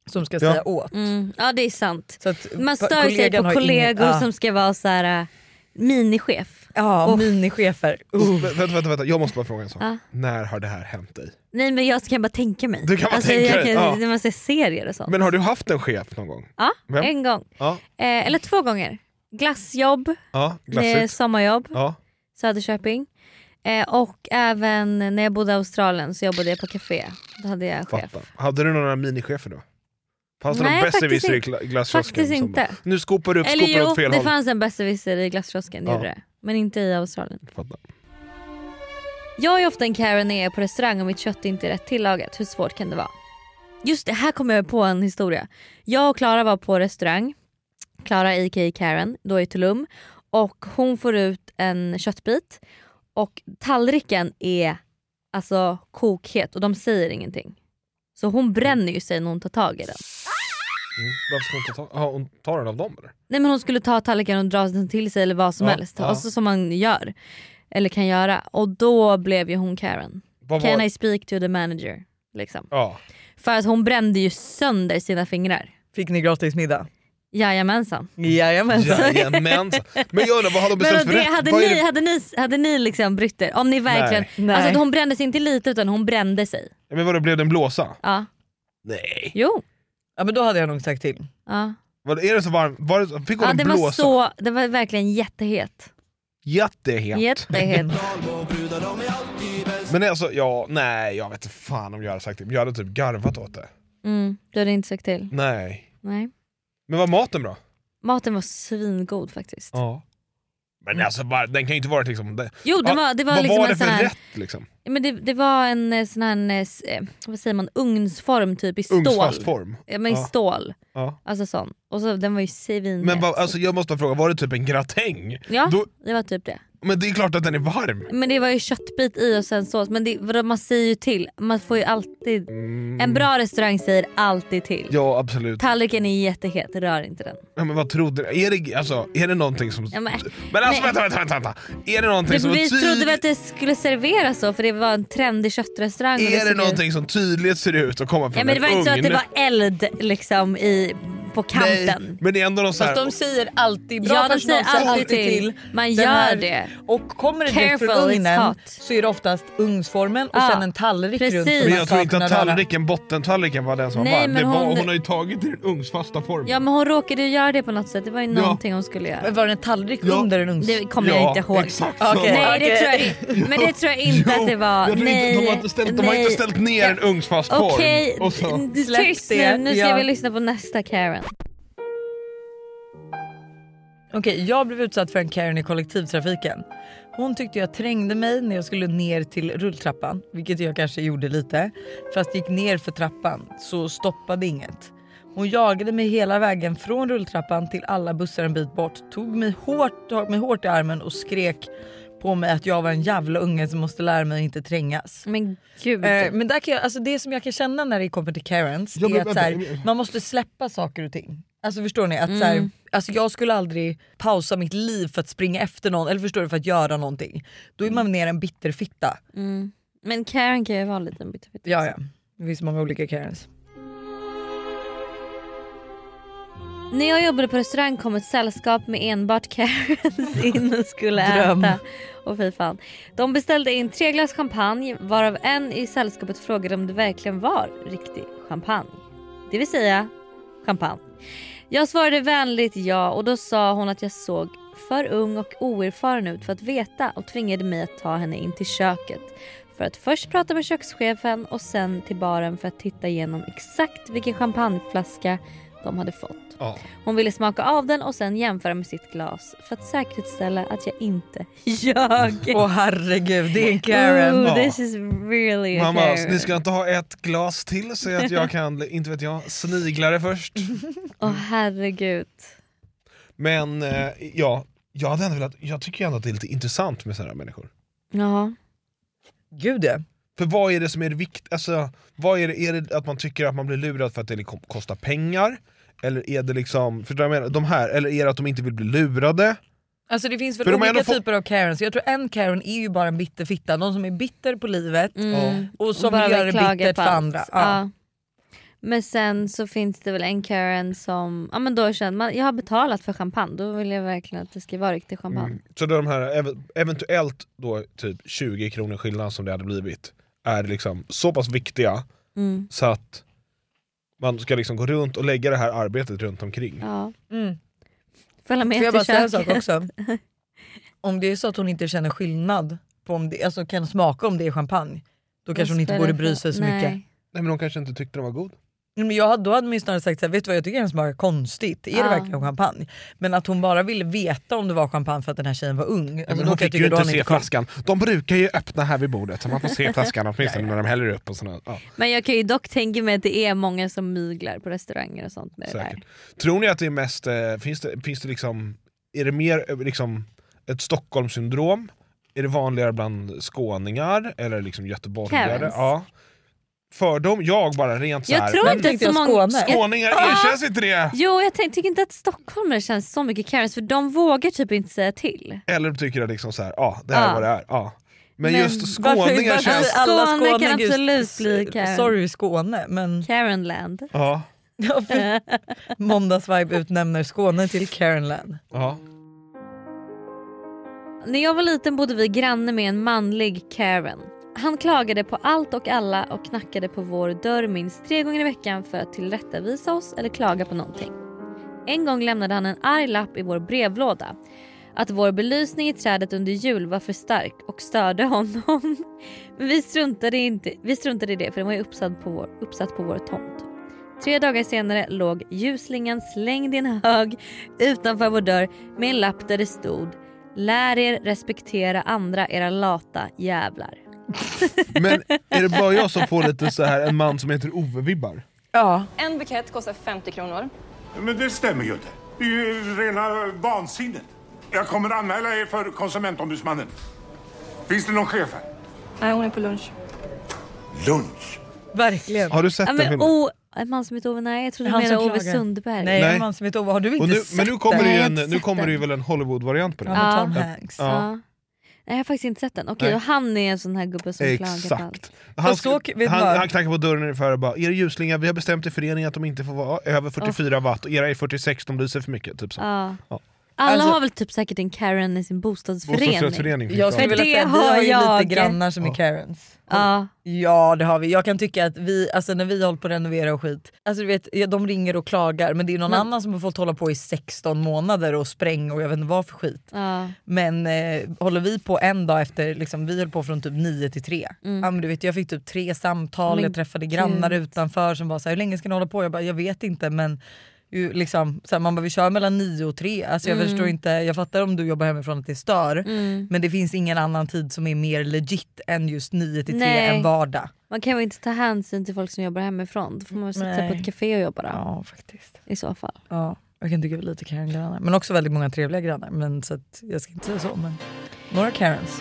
Speaker 7: som ska
Speaker 6: Ja.
Speaker 7: säga åt.
Speaker 4: Mm, ja det är sant.
Speaker 7: Så att
Speaker 4: Man
Speaker 7: pa-
Speaker 4: stör sig
Speaker 7: kollegan
Speaker 4: på
Speaker 7: har ingen-
Speaker 4: kollegor
Speaker 7: ja.
Speaker 4: som ska vara så här äh, minichef.
Speaker 7: Ja,
Speaker 4: Uff.
Speaker 7: minichefer. Uh,
Speaker 6: Vä- Vänta, vänta, vänta, jag måste bara fråga en sak. När har det här hänt dig?
Speaker 4: Nej men jag kan bara tänka mig. Alltså,
Speaker 6: Du kan bara tänka
Speaker 4: jag
Speaker 6: dig,
Speaker 4: kan,
Speaker 6: ja.
Speaker 4: När man ser serier och sånt.
Speaker 6: Men har du haft en chef någon gång?
Speaker 4: ja,
Speaker 6: Vem?
Speaker 4: en gång.
Speaker 6: Ja,
Speaker 4: Eh, eller två gånger. Glassjobb,
Speaker 6: ja
Speaker 4: eh,
Speaker 6: glassigt.
Speaker 4: sommarjobb,
Speaker 6: Ja.
Speaker 4: Söderköping. Eh, och även när jag bodde i Australien så jobbade jag på café. Då hade jag en chef.
Speaker 6: Fattar. Hade du några minichefer då? Fanns det
Speaker 4: Nej,
Speaker 6: någon
Speaker 4: faktiskt
Speaker 6: besserwisser i
Speaker 4: inte.
Speaker 6: gla- glasskiosken?
Speaker 4: Faktiskt
Speaker 6: som
Speaker 4: inte.
Speaker 6: bara, Nu skopar du upp,
Speaker 4: Eller
Speaker 6: skopar
Speaker 4: jo,
Speaker 6: åt fel
Speaker 4: det
Speaker 6: håll.
Speaker 4: fanns en besserwisser i glasskiosken, det
Speaker 6: Ja.
Speaker 4: gjorde det. Men inte i Australien.
Speaker 6: Fattar.
Speaker 4: Jag är ofta en Karen när jag är på restaurang och mitt kött inte är rätt tillagat. Hur svårt kan det vara? Just det, här kommer jag på en historia. Jag och Klara var på restaurang. Klara a.k.a. Karen, då i Tulum. Och hon får ut en köttbit och tallriken är alltså kokhet och de säger ingenting. Så hon bränner ju sig när hon tar tag i den.
Speaker 6: Mm. Varför ska hon inte ta, aha, hon tar den av dem eller?
Speaker 4: Nej men hon skulle ta tallriken och dra den till sig eller vad som
Speaker 6: Ja,
Speaker 4: helst.
Speaker 6: ja.
Speaker 4: Alltså som man gör. Eller kan göra. Och då blev ju hon Karen.
Speaker 6: Vad
Speaker 4: Can
Speaker 6: var,
Speaker 4: I speak to the manager? Liksom.
Speaker 6: ja.
Speaker 4: För att hon brände ju sönder sina fingrar.
Speaker 7: Fick ni gratis middag?
Speaker 4: Jajamensan.
Speaker 7: Jajamensan.
Speaker 6: Jajamensan. Men jag undrar, vad hade de
Speaker 4: Alltså. Men
Speaker 6: bestämt för
Speaker 4: det,
Speaker 6: rätt?
Speaker 4: hade,
Speaker 6: Vad är
Speaker 4: ni,
Speaker 6: det-
Speaker 4: hade ni, hade ni liksom brytt er? Om ni verkligen...
Speaker 7: Nej.
Speaker 4: Alltså att hon brände sig inte lite utan hon brände sig.
Speaker 6: Ja, Men vadå, blev den blåsa?
Speaker 4: Ja.
Speaker 6: Nej.
Speaker 4: Jo.
Speaker 7: Ja men då hade jag nog sagt till.
Speaker 4: Ja.
Speaker 6: Vad, är det så varm? Var det, fick hon
Speaker 4: Ja,
Speaker 6: en
Speaker 4: det
Speaker 6: blåsa?
Speaker 4: var så, det var verkligen jättehet.
Speaker 6: Jättehet.
Speaker 4: Jättehet.
Speaker 6: Men alltså, ja, nej jag vet inte fan om jag hade sagt det. Men Jag hade typ garvat åt det.
Speaker 4: Mm, du hade inte sagt till.
Speaker 6: Nej.
Speaker 4: Nej.
Speaker 6: Men var maten bra?
Speaker 4: Maten var svingod faktiskt.
Speaker 6: Ja. Men alltså, bara, den kan ju inte vara liksom... Det,
Speaker 4: Jo, det var, det var
Speaker 6: vad
Speaker 4: liksom
Speaker 6: var det
Speaker 4: en sån
Speaker 6: för
Speaker 4: här...
Speaker 6: rätt liksom?
Speaker 4: Ja, Men det, det var en eh, sån här, eh, s- eh, vad säger man, ugnsform typ i stål.
Speaker 6: Ugnsfast form?
Speaker 4: Ja men i
Speaker 6: Ja.
Speaker 4: stål.
Speaker 6: Ja.
Speaker 4: Alltså sån. Och så den var ju svinmätt.
Speaker 6: Men vad- alltså, jag måste fråga, var det typ en gratäng?
Speaker 4: ja,
Speaker 6: då-
Speaker 4: det var typ det.
Speaker 6: Men det är klart att den är varm.
Speaker 4: Men det var ju köttbit i och sen sås. Men det, vadå, man säger ju till. Man får ju alltid... En bra restaurang säger alltid till.
Speaker 6: Ja absolut.
Speaker 4: Tallriken är jättehet, rör inte den.
Speaker 6: Ja, men vad trodde du? Är det, alltså, är det någonting som...
Speaker 4: Ja, men-
Speaker 6: men alltså
Speaker 4: nej.
Speaker 6: vänta, vänta, vänta, vänta! Är det någonting
Speaker 4: Det,
Speaker 6: som
Speaker 4: vi trodde
Speaker 6: tydligt...
Speaker 4: väl att det skulle serveras så för det var en trendig köttrestaurang. och
Speaker 6: Är
Speaker 4: såg
Speaker 6: det
Speaker 4: ut-
Speaker 6: någonting som tydligt ser ut att komma från
Speaker 4: Ja, men det var
Speaker 6: en
Speaker 4: inte så att
Speaker 6: ugn?
Speaker 4: det var eld liksom i, på kanten.
Speaker 6: Nej, men det är ändå någon sån här...
Speaker 7: Fast de säger alltid, bra
Speaker 4: Ja, de
Speaker 7: personal
Speaker 4: säger alltid till. Man
Speaker 7: Den
Speaker 4: gör det.
Speaker 7: Och kommer det direkt
Speaker 4: Careful,
Speaker 7: från
Speaker 4: it's
Speaker 7: ugnen
Speaker 4: hot.
Speaker 7: så är det oftast ugnsformen och
Speaker 4: Ja,
Speaker 7: sen en tallrik runt.
Speaker 4: precis.
Speaker 7: som
Speaker 6: Men
Speaker 7: man ska
Speaker 6: jag tror inte
Speaker 7: kunna
Speaker 6: att
Speaker 7: röra.
Speaker 6: tallriken, bottentallriken var den som
Speaker 4: Nej,
Speaker 6: var varm.
Speaker 4: men
Speaker 6: Det var,
Speaker 4: hon-
Speaker 6: hon... har ju tagit det i den ugnsfasta formen.
Speaker 4: Ja men hon råkade ju göra det på något sätt. Det var ju någonting hon skulle göra.
Speaker 7: Men var det en tallrik under en ugns?
Speaker 4: Det kommer jag
Speaker 6: Ja,
Speaker 4: inte ihåg.
Speaker 6: exakt
Speaker 7: så var
Speaker 4: Nej, det
Speaker 7: det.
Speaker 4: tror jag, men det tror jag inte
Speaker 6: Jo,
Speaker 4: att det var.
Speaker 6: jag tror
Speaker 4: nej,
Speaker 6: Inte, de har inte ställt, de har
Speaker 4: nej.
Speaker 6: inte ställt ner en ugnsfast form.
Speaker 4: Okej, Mm.
Speaker 6: Och så,
Speaker 4: d-
Speaker 7: Släpp
Speaker 4: tyst nu.
Speaker 7: det,
Speaker 4: Nu ska
Speaker 7: ja.
Speaker 4: vi lyssna på nästa Karen.
Speaker 7: Okej, jag blev utsatt för en Karen i kollektivtrafiken. Hon tyckte jag trängde mig när jag skulle ner till rulltrappan, vilket jag kanske gjorde lite. Fast gick ner för trappan, så stoppade inget. Hon jagade mig hela vägen från rulltrappan till alla bussar en bit bort, tog mig hårt, tog mig hårt i armen och skrek på mig att jag var en jävla unge som måste lära mig att inte trängas.
Speaker 4: Men gud.
Speaker 7: Eh, men där kan jag, alltså det som jag kan känna när det kommer till Karens
Speaker 6: Ja, men
Speaker 7: är att så
Speaker 6: vänta,
Speaker 7: här,
Speaker 6: men-
Speaker 7: man måste släppa saker och ting. Alltså förstår ni? Att så här, alltså jag skulle aldrig pausa mitt liv för att springa efter någon eller förstår du för att göra någonting. Då är
Speaker 6: Mm.
Speaker 7: man ner en bitterfitta.
Speaker 4: Men Karen kan ju vara en liten bitterfitta.
Speaker 7: Ja, ja. Det finns många olika Karens.
Speaker 4: När jag jobbade på restaurang kom ett sällskap med enbart Karens in och skulle
Speaker 7: Dröm.
Speaker 4: äta. Och fy fan. De beställde in tre glas champagne varav en i sällskapet frågade om det verkligen var riktig champagne. Det vill säga champagne. Jag svarade vänligt ja och då sa hon att jag såg för ung och oerfaren ut för att veta och tvingade mig att ta henne in till köket för att först prata med kökschefen och sen till baren för att titta igenom exakt vilken champagneflaska de hade fått.
Speaker 6: ja.
Speaker 4: Hon ville smaka av den och sen jämföra med sitt glas för att säkerställa att jag inte ljög.
Speaker 7: Åh herregud, det är en Karen.
Speaker 4: Ooh,
Speaker 6: Ja.
Speaker 4: this is really a
Speaker 6: Mamma,
Speaker 4: Karen.
Speaker 6: ni ska inte ha ett glas till så att jag kan, inte vet jag, snigla det först.
Speaker 4: Åh herregud.
Speaker 6: Men eh, ja, jag, hade ändå velat, jag tycker ju ändå att det är lite intressant med sådana här människor.
Speaker 4: Ja.
Speaker 7: Gud ja.
Speaker 6: För vad är det som är det viktiga? Alltså, vad är, det, är det att man tycker att man blir lurad för att det liksom kostar pengar? Eller är det liksom, för jag menar, de här, eller är det att de inte vill bli lurade?
Speaker 7: Alltså det finns väl
Speaker 6: För de har
Speaker 7: olika
Speaker 6: ändå fått-
Speaker 7: typer av Karens. Jag tror en Karen är ju bara en bitterfitta. De som är bitter på livet
Speaker 4: Mm.
Speaker 6: Ja.
Speaker 7: och som
Speaker 4: Bara
Speaker 7: vill göra det
Speaker 4: klaga
Speaker 7: bittert
Speaker 4: på
Speaker 7: för
Speaker 4: allt.
Speaker 7: andra. Ja.
Speaker 4: Ja. Men sen så finns det väl en Karen som, ja men då känner man, jag har betalat för champagne, då vill jag verkligen att det ska vara riktig champagne.
Speaker 7: Mm.
Speaker 6: Så då de här ev- eventuellt då typ 20 kronor skillnad som det hade blivit är liksom så pass viktiga
Speaker 4: Mm.
Speaker 6: så att man ska liksom gå runt och lägga det här arbetet runt omkring.
Speaker 4: Ja.
Speaker 7: Mm.
Speaker 4: Följa med
Speaker 7: Får jag bara
Speaker 4: till
Speaker 7: säga en
Speaker 4: köket.
Speaker 7: sak också? Om det är så att hon inte känner skillnad, på om det, alltså kan smaka om det är champagne, då kanske hon inte borde bry sig så mycket.
Speaker 4: Nej.
Speaker 6: Nej men de kanske inte tyckte den var god.
Speaker 7: Nej, Men jag, hade- då hade man ju snarare sagt så här, vet du vad jag tycker den smakar konstigt, är
Speaker 4: Ja.
Speaker 7: det verkligen champagne? Men att hon bara ville veta om det var champagne för att den här tjejen var ung.
Speaker 6: Ja,
Speaker 7: Alltså, då
Speaker 6: men de
Speaker 7: kan jag
Speaker 6: fick ju
Speaker 7: tycka då
Speaker 6: inte
Speaker 7: har ni
Speaker 6: se
Speaker 7: koll.
Speaker 6: flaskan. De brukar ju öppna här vid bordet så man får se flaskan åtminstone när de häller upp. och såna, ja,
Speaker 4: Men jag kan ju dock tänka mig att det är många som myglar på restauranger och sånt med det där.
Speaker 6: säkert. Tror ni att det är mest, eh, finns det, finns det liksom, är det mer eh, liksom, ett Stockholmssyndrom? Är det vanligare bland skåningar eller liksom göteborgare?
Speaker 4: Karens.
Speaker 6: Ja. Fördom, jag bara rent så
Speaker 4: Jag
Speaker 6: här.
Speaker 4: tror
Speaker 7: Vem
Speaker 4: inte att
Speaker 7: tänkte
Speaker 4: så
Speaker 7: jag,
Speaker 4: många...
Speaker 7: Skåne?
Speaker 4: Jag-
Speaker 6: Skåningar erkänns inte det!
Speaker 4: Jo jag tänk, tycker inte att stockholmare känns så mycket Karens för de vågar typ inte säga till.
Speaker 6: Eller tycker att liksom så här, ja det här
Speaker 4: Ja.
Speaker 6: är vad det är. Ja. Men,
Speaker 4: Men
Speaker 6: just
Speaker 7: Varför-
Speaker 6: skåningar
Speaker 7: varför
Speaker 6: känns...
Speaker 7: säger alla
Speaker 4: Skåne kan
Speaker 7: skåningar just-
Speaker 4: absolut bli Karen.
Speaker 7: Sorry Skåne, men
Speaker 4: Karenland.
Speaker 6: Ja,
Speaker 7: Ja, för- måndagsvibe utnämner Skåne till Karenland.
Speaker 6: ja.
Speaker 4: När jag var liten bodde vi granne med en manlig Karen. Han klagade på allt och alla och knackade på vår dörr minst tre gånger i veckan för att tillrättavisa oss eller klaga på någonting. En gång lämnade han en arg lapp i vår brevlåda. Att vår belysning i trädet under jul var för stark och störde honom. Men vi struntade, inte, vi struntade i det för den var ju uppsatt på vår, uppsatt på vår tomt. Tre dagar senare låg ljuslingen slängd i en hög utanför vår dörr med en lapp där det stod Lär er respektera andra era lata jävlar.
Speaker 6: Men är det bara jag som får lite så här en man som heter Ove-vibbar?
Speaker 7: Ja,
Speaker 9: En bukett kostar 50 kronor.
Speaker 10: Men det stämmer ju inte. Det är ju rena vansinnet. Jag kommer anmäla er för konsumentombudsmannen. Finns det någon chef här?
Speaker 9: Nej, hon är på lunch.
Speaker 10: Lunch.
Speaker 7: verkligen.
Speaker 6: Har du sett
Speaker 4: Ja,
Speaker 6: den
Speaker 4: men,
Speaker 6: filmen?
Speaker 4: oh, en man som heter Ove, nej jag trodde du
Speaker 7: Han
Speaker 4: menade
Speaker 7: som
Speaker 4: Ove
Speaker 7: klagar.
Speaker 4: Sundberg.
Speaker 7: Nej,
Speaker 6: Nej.
Speaker 7: man som heter Ove, har du inte
Speaker 6: Och nu,
Speaker 7: sett
Speaker 6: men nu kommer,
Speaker 7: den?
Speaker 6: det
Speaker 4: Nej,
Speaker 6: ju
Speaker 4: jag har
Speaker 6: en,
Speaker 4: inte
Speaker 6: nu
Speaker 4: sett
Speaker 6: kommer det ju
Speaker 4: den.
Speaker 6: väl en Hollywood-variant på
Speaker 7: Ja,
Speaker 6: den?
Speaker 7: med Tom
Speaker 4: Ja.
Speaker 7: Hanks.
Speaker 4: Ja. Nej, jag har faktiskt inte sett den. Okej,
Speaker 6: Nej.
Speaker 4: och han är en sån här gubbe som klagar på allt.
Speaker 6: Exakt. Han,
Speaker 7: Fast
Speaker 6: sk-
Speaker 7: så- vet du
Speaker 6: han,
Speaker 7: vad?
Speaker 6: han knackar på dörren ungefär och bara “Era ljuslingar, vi har bestämt i föreningen att de inte får vara över 44 watt och era är 46, de lyser för mycket”. Typ så.
Speaker 4: Ja.
Speaker 6: Ja.
Speaker 4: Alla
Speaker 7: Alltså-
Speaker 4: har väl typ säkert en Karen i sin bostadsförening?
Speaker 6: Bostadsrättsförening. finns
Speaker 7: Jag
Speaker 6: det
Speaker 7: skulle
Speaker 6: också.
Speaker 7: vilja
Speaker 4: det
Speaker 7: säga, vi
Speaker 4: har
Speaker 7: har ju
Speaker 4: jag.
Speaker 7: lite grannar som är Karens.
Speaker 4: Ja.
Speaker 7: Ja det har vi. Jag kan tycka att vi, alltså när vi har hållit på att renovera och skit, alltså du vet ja, de ringer och klagar men det är någon
Speaker 4: Men-
Speaker 7: annan som har fått hålla på i 16 månader och spräng och jag vet inte vad för skit.
Speaker 4: ja.
Speaker 7: Men eh, håller vi på en dag efter, liksom, vi höll på från typ 9 till 3. Ja, men du vet, jag fick typ tre samtal,
Speaker 4: Mm. Men
Speaker 7: jag träffade grannar
Speaker 4: gud.
Speaker 7: utanför som var så här, hur länge ska ni hålla på? Jag bara, jag vet inte men ju, liksom, så här, man bara, vi kör mellan 9 och 3. Alltså,
Speaker 4: Mm.
Speaker 7: jag förstår inte, jag fattar om du jobbar hemifrån att det stör men det finns ingen annan tid som är mer legit än just 9 till 3
Speaker 4: Nej.
Speaker 7: en vardag.
Speaker 4: Man kan väl inte ta hänsyn till folk som jobbar hemifrån? Då får man väl sitta
Speaker 7: Nej.
Speaker 4: på ett café och jobba då,
Speaker 7: Ja faktiskt.
Speaker 4: i så fall.
Speaker 7: Ja, jag kan tycka vi är lite Karen-grannar. Men också väldigt många trevliga grannar. Men, så att, jag ska inte säga så men några Karens.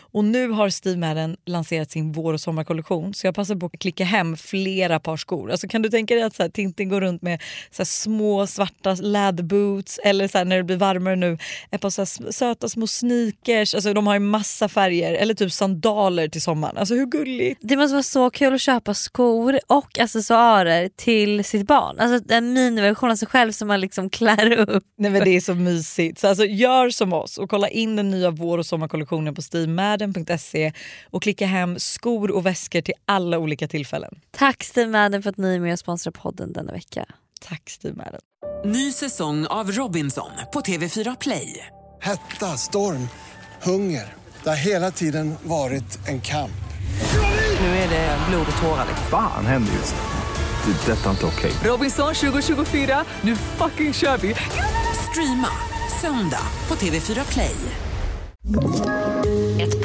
Speaker 7: Och nu har Steve Madden lanserat sin vår och sommarkollektion så jag passar på att klicka hem flera par skor. Alltså, kan du tänka dig att så här, Tintin går runt med så här, små svarta läderboots eller så här, när det blir varmare nu ett par så här, sm- söta små sneakers. Alltså, de har ju massa färger eller typ sandaler till sommaren. Alltså hur gulligt?
Speaker 4: Det måste vara så kul att köpa skor och accessoarer till sitt barn. Alltså en miniversion av sig själv som man liksom klär upp.
Speaker 7: Nej men det är så mysigt. Så alltså, gör som oss och kolla in den nya vår och sommarkollektionen på steamadden.se och klicka hem skor och väskor till alla olika tillfällen.
Speaker 4: Tack Steve Madden för att ni är med och sponsrar podden denna vecka.
Speaker 7: Tack Steamadden.
Speaker 1: Ny säsong av Robinson på TV4 Play.
Speaker 2: Hetta, storm, hunger. Det har hela tiden varit en kamp.
Speaker 1: Nu är det blod och tårar.
Speaker 3: Fan händer just det. Det är detta inte okej.
Speaker 1: Robinson 2024, nu fucking kör vi! Streama söndag på TV4 Play.
Speaker 11: Ett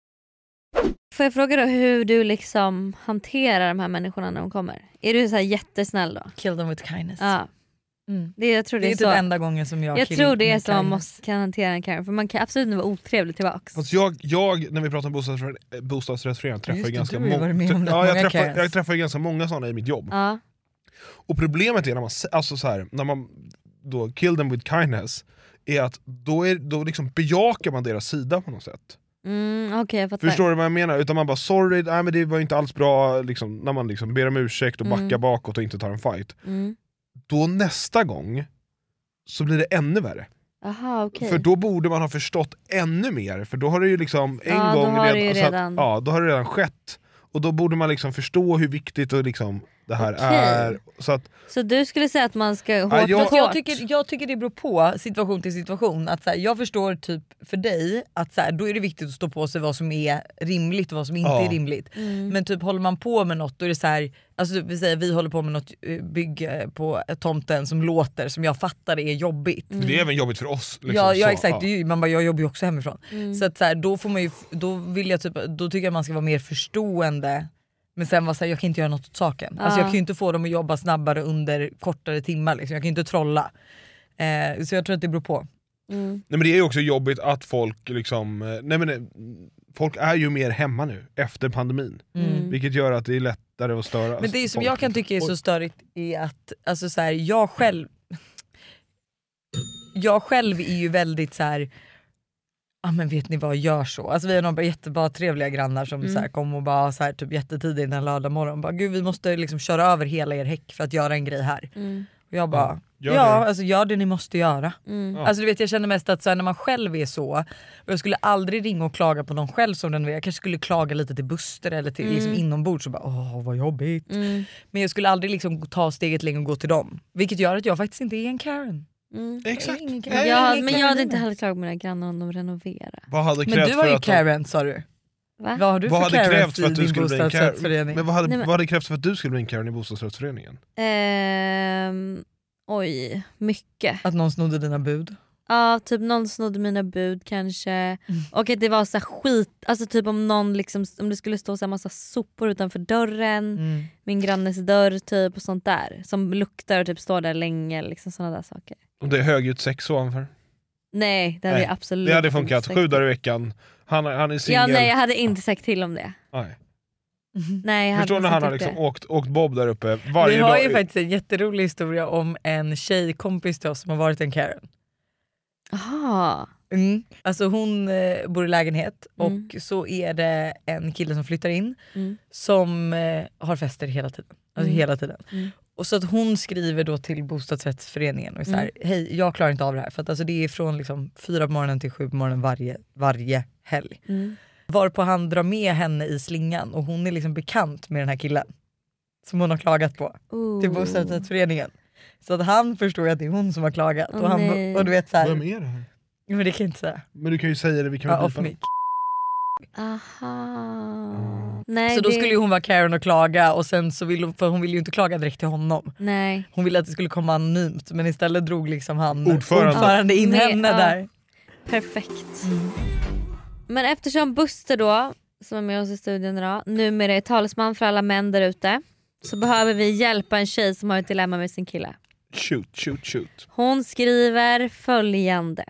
Speaker 4: Får jag fråga då hur du liksom hanterar de här människorna när de kommer? Är du så här jättesnäll då?
Speaker 7: Kill them with kindness.
Speaker 4: Ja. Det, jag tror det,
Speaker 7: Det är
Speaker 4: är
Speaker 7: typ
Speaker 4: så.
Speaker 7: enda gången som jag
Speaker 4: Jag
Speaker 7: kill
Speaker 4: tror det är
Speaker 7: med
Speaker 4: så man
Speaker 7: kindness.
Speaker 4: måste, kan hantera en Karen för man kan absolut inte vara otrevlig tillbaks.
Speaker 6: Fast jag, jag, när vi pratar om bostadsrätt- eh, bostadsrättsföreningar, träffar
Speaker 4: just
Speaker 6: ju
Speaker 4: det,
Speaker 6: ganska,
Speaker 4: du har ju varit med om det.
Speaker 6: ja, jag
Speaker 4: Många
Speaker 6: träffar,
Speaker 4: Karens.
Speaker 6: jag träffar ju ganska många sådana i mitt jobb.
Speaker 4: Ja.
Speaker 6: Och problemet är när man, s- alltså så här, när man då kill them with kindness, är att då, är, då liksom bejakar man deras sida på något sätt.
Speaker 4: Mm, Okej jag fattar.
Speaker 6: Förstår du vad jag menar? Utan man bara sorry, nej men det var ju inte alls bra, liksom, när man liksom ber om ursäkt och
Speaker 4: Mm.
Speaker 6: backar bakåt och inte tar en fight.
Speaker 4: Mm.
Speaker 6: Då nästa gång så blir det ännu värre.
Speaker 4: Aha, okej.
Speaker 6: För då borde man ha förstått ännu mer, för då har det ju liksom en
Speaker 4: Ja, då
Speaker 6: gång
Speaker 4: har det ju
Speaker 6: så att-
Speaker 4: redan-
Speaker 6: ja, då har det redan skett. Och då borde man liksom förstå hur viktigt och liksom det här
Speaker 4: Okej.
Speaker 6: är. Så att,
Speaker 4: Så du skulle säga att man ska hårt
Speaker 6: Ja, jag-
Speaker 4: mot
Speaker 6: Fast jag
Speaker 4: hårt?
Speaker 7: tycker, jag tycker det beror på situation till situation. Att så här, jag förstår typ för dig att så här, då är det viktigt att stå på sig vad som är rimligt och vad som inte
Speaker 12: Ja.
Speaker 7: är rimligt.
Speaker 12: Mm.
Speaker 7: Men typ håller man på med något då är det så här, alltså typ, vi säger vi håller på med något eh, bygge på eh, tomten som låter som jag fattar är jobbigt.
Speaker 4: Mm.
Speaker 6: Det är även jobbigt för oss. liksom,
Speaker 7: ja, ja
Speaker 6: så,
Speaker 7: exakt, Det är ju- man bara jag jobbar ju också hemifrån.
Speaker 6: Mm.
Speaker 7: Så, att, så här, då, får man ju, då, vill jag typ, då tycker jag man ska vara mer förstående men sen var så här, jag kan inte göra något åt saken. Alltså,
Speaker 12: Ja.
Speaker 7: jag kan ju inte få dem att jobba snabbare under kortare timmar. Liksom. Jag kan ju inte trolla. Eh, så jag tror att det beror på.
Speaker 6: Nej, men det är ju också jobbigt att folk liksom, eh, nej men eh, folk är ju mer hemma nu efter pandemin.
Speaker 7: Mm.
Speaker 6: Vilket gör att det är lättare att störa.
Speaker 7: Men det som
Speaker 6: Alltså, folk. liksom.
Speaker 7: jag kan tycka är så
Speaker 6: Och-
Speaker 7: störigt är att alltså så här, jag själv jag själv är ju väldigt så här. Ja men vet ni vad, gör så. Alltså vi har några jättebra trevliga grannar som
Speaker 12: Mm.
Speaker 7: så här, kom och bara så här, typ jättetidigt en lördag morgon bara gud vi måste liksom köra över hela er häck för att göra en grej här.
Speaker 4: Mm.
Speaker 7: Och jag bara,
Speaker 12: Gör
Speaker 7: ja
Speaker 12: det.
Speaker 7: alltså gör det ni måste göra.
Speaker 12: Mm. Ja.
Speaker 7: Alltså du vet jag känner mest att så här, när man själv är så, och jag skulle aldrig ringa och klaga på någon själv som den är. Jag kanske skulle klaga lite till Buster eller till
Speaker 12: Mm.
Speaker 7: liksom inombords och bara åh vad jobbigt.
Speaker 4: Mm.
Speaker 7: Men jag skulle aldrig liksom ta steget längre och gå till dem. Vilket gör att jag faktiskt inte är en Karen.
Speaker 6: Exakt.
Speaker 4: Mm.
Speaker 7: Ingen Karen.
Speaker 4: Jag,
Speaker 7: Ingen
Speaker 4: men jag hade
Speaker 7: Karin.
Speaker 4: inte heller klagat på mina grannar om de renoverar.
Speaker 6: Vad hade
Speaker 7: Men
Speaker 6: krävts
Speaker 7: du var
Speaker 6: för
Speaker 7: ju
Speaker 6: att de-
Speaker 7: Karen sa du.
Speaker 4: Va?
Speaker 7: Vad har du
Speaker 6: vad
Speaker 7: för
Speaker 6: hade
Speaker 7: Karens
Speaker 6: krävts för
Speaker 7: i
Speaker 6: att du
Speaker 7: din
Speaker 6: skulle bli en Karen?
Speaker 7: bostadsrättsförening?
Speaker 6: Men vad hade,
Speaker 4: Nej, men-
Speaker 6: vad hade krävts för att du skulle bli en Karen i bostadsrättsföreningen?
Speaker 4: Ehm, oj, mycket.
Speaker 7: Att någon snodde dina bud?
Speaker 4: Ja, typ någon snodde mina bud kanske.
Speaker 6: Mm.
Speaker 4: Och att det var så här skit, alltså typ om någon liksom, om det skulle stå så här massa sopor utanför dörren,
Speaker 7: Mm.
Speaker 4: min grannes dörr typ och sånt där. Som luktar och typ står där länge, liksom sådana där saker.
Speaker 6: Om det är högljutt sex ovanför?
Speaker 4: Nej, det hade
Speaker 6: Nej,
Speaker 4: jag absolut
Speaker 6: Det hade
Speaker 4: inte
Speaker 6: funkat,
Speaker 4: sagt.
Speaker 6: sju dagar i veckan, han, han är
Speaker 4: Ja,
Speaker 6: singel.
Speaker 4: nej jag hade inte sagt till om det.
Speaker 6: Nej.
Speaker 4: Nej, jag
Speaker 6: Förstår
Speaker 4: hade
Speaker 6: när
Speaker 4: inte
Speaker 6: han har
Speaker 4: gjort
Speaker 6: liksom
Speaker 4: det.
Speaker 6: åkt, åkt Bob där uppe varje
Speaker 7: Vi har
Speaker 6: dag?
Speaker 7: ju faktiskt en jätterolig historia om en tjejkompis till oss som har varit en Karen.
Speaker 4: Aha.
Speaker 7: Mm. Alltså hon eh, bor i lägenhet
Speaker 4: Mm.
Speaker 7: och så är det en kille som flyttar in
Speaker 4: Mm.
Speaker 7: som eh, har fester hela tiden. Alltså
Speaker 12: Mm.
Speaker 7: hela tiden.
Speaker 12: Mm.
Speaker 7: Och så att hon skriver då till bostadsrättsföreningen och är så här,
Speaker 12: Mm.
Speaker 7: hej jag klarar inte av det här. För att alltså det är från liksom fyra på morgonen till sju på morgonen varje, varje helg.
Speaker 4: Mm.
Speaker 7: Varpå han drar med henne i slingan och hon är liksom bekant med den här killen. Som hon har klagat Typ på.
Speaker 4: Ooh.
Speaker 7: Till bostadsrättsföreningen. Så att han förstår ju att det är hon som har klagat.
Speaker 4: Åh,
Speaker 7: och, han,
Speaker 4: nej.
Speaker 7: och du vet så här,
Speaker 6: Vem är det här?
Speaker 7: Men det kan jag inte säga.
Speaker 6: Men du kan ju säga det, vi kan
Speaker 7: Ja,
Speaker 6: väl
Speaker 7: off
Speaker 6: bipa det.
Speaker 7: mic.
Speaker 6: Mm.
Speaker 4: Aha. Nej,
Speaker 7: så då
Speaker 4: det-
Speaker 7: skulle ju hon vara Karen och klaga och sen så ville hon, för hon ville ju inte klaga direkt till honom.
Speaker 4: Nej.
Speaker 7: Hon ville att det skulle komma anonymt men istället drog liksom han
Speaker 6: Ordförande.
Speaker 7: in
Speaker 4: Med-
Speaker 7: henne
Speaker 4: ja.
Speaker 7: där.
Speaker 4: Perfekt. Mm. Men eftersom Buster då, som är med oss i studion idag, numera är talsman för alla män där ute så behöver vi hjälpa en tjej som har ett dilemma med sin kille.
Speaker 6: Shoot, shoot, shoot.
Speaker 4: Hon skriver följande.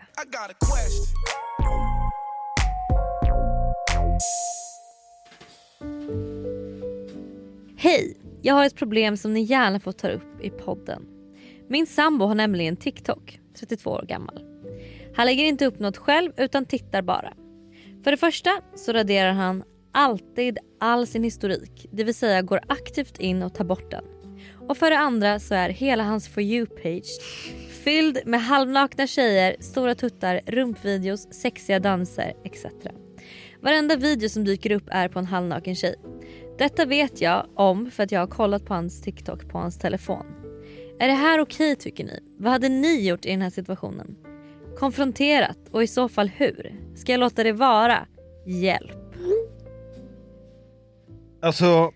Speaker 4: Hej! Jag har ett problem som ni gärna får ta upp i podden. Min sambo har nämligen TikTok, 32 år gammal. Han lägger inte upp något själv utan tittar bara. För det första så raderar han alltid all sin historik, det vill säga går aktivt in och tar bort den. Och för det andra så är hela hans For You-page fylld med halvnakna tjejer, stora tuttar, rumpvideos, sexiga danser etc. Varenda video som dyker upp är på en halvnaken tjej. Detta vet jag om för att jag har kollat på hans TikTok på hans telefon. Är det här okej tycker ni? Vad hade ni gjort i den här situationen? Konfronterat och i så fall hur? Ska jag låta det vara? Hjälp.
Speaker 6: Alltså,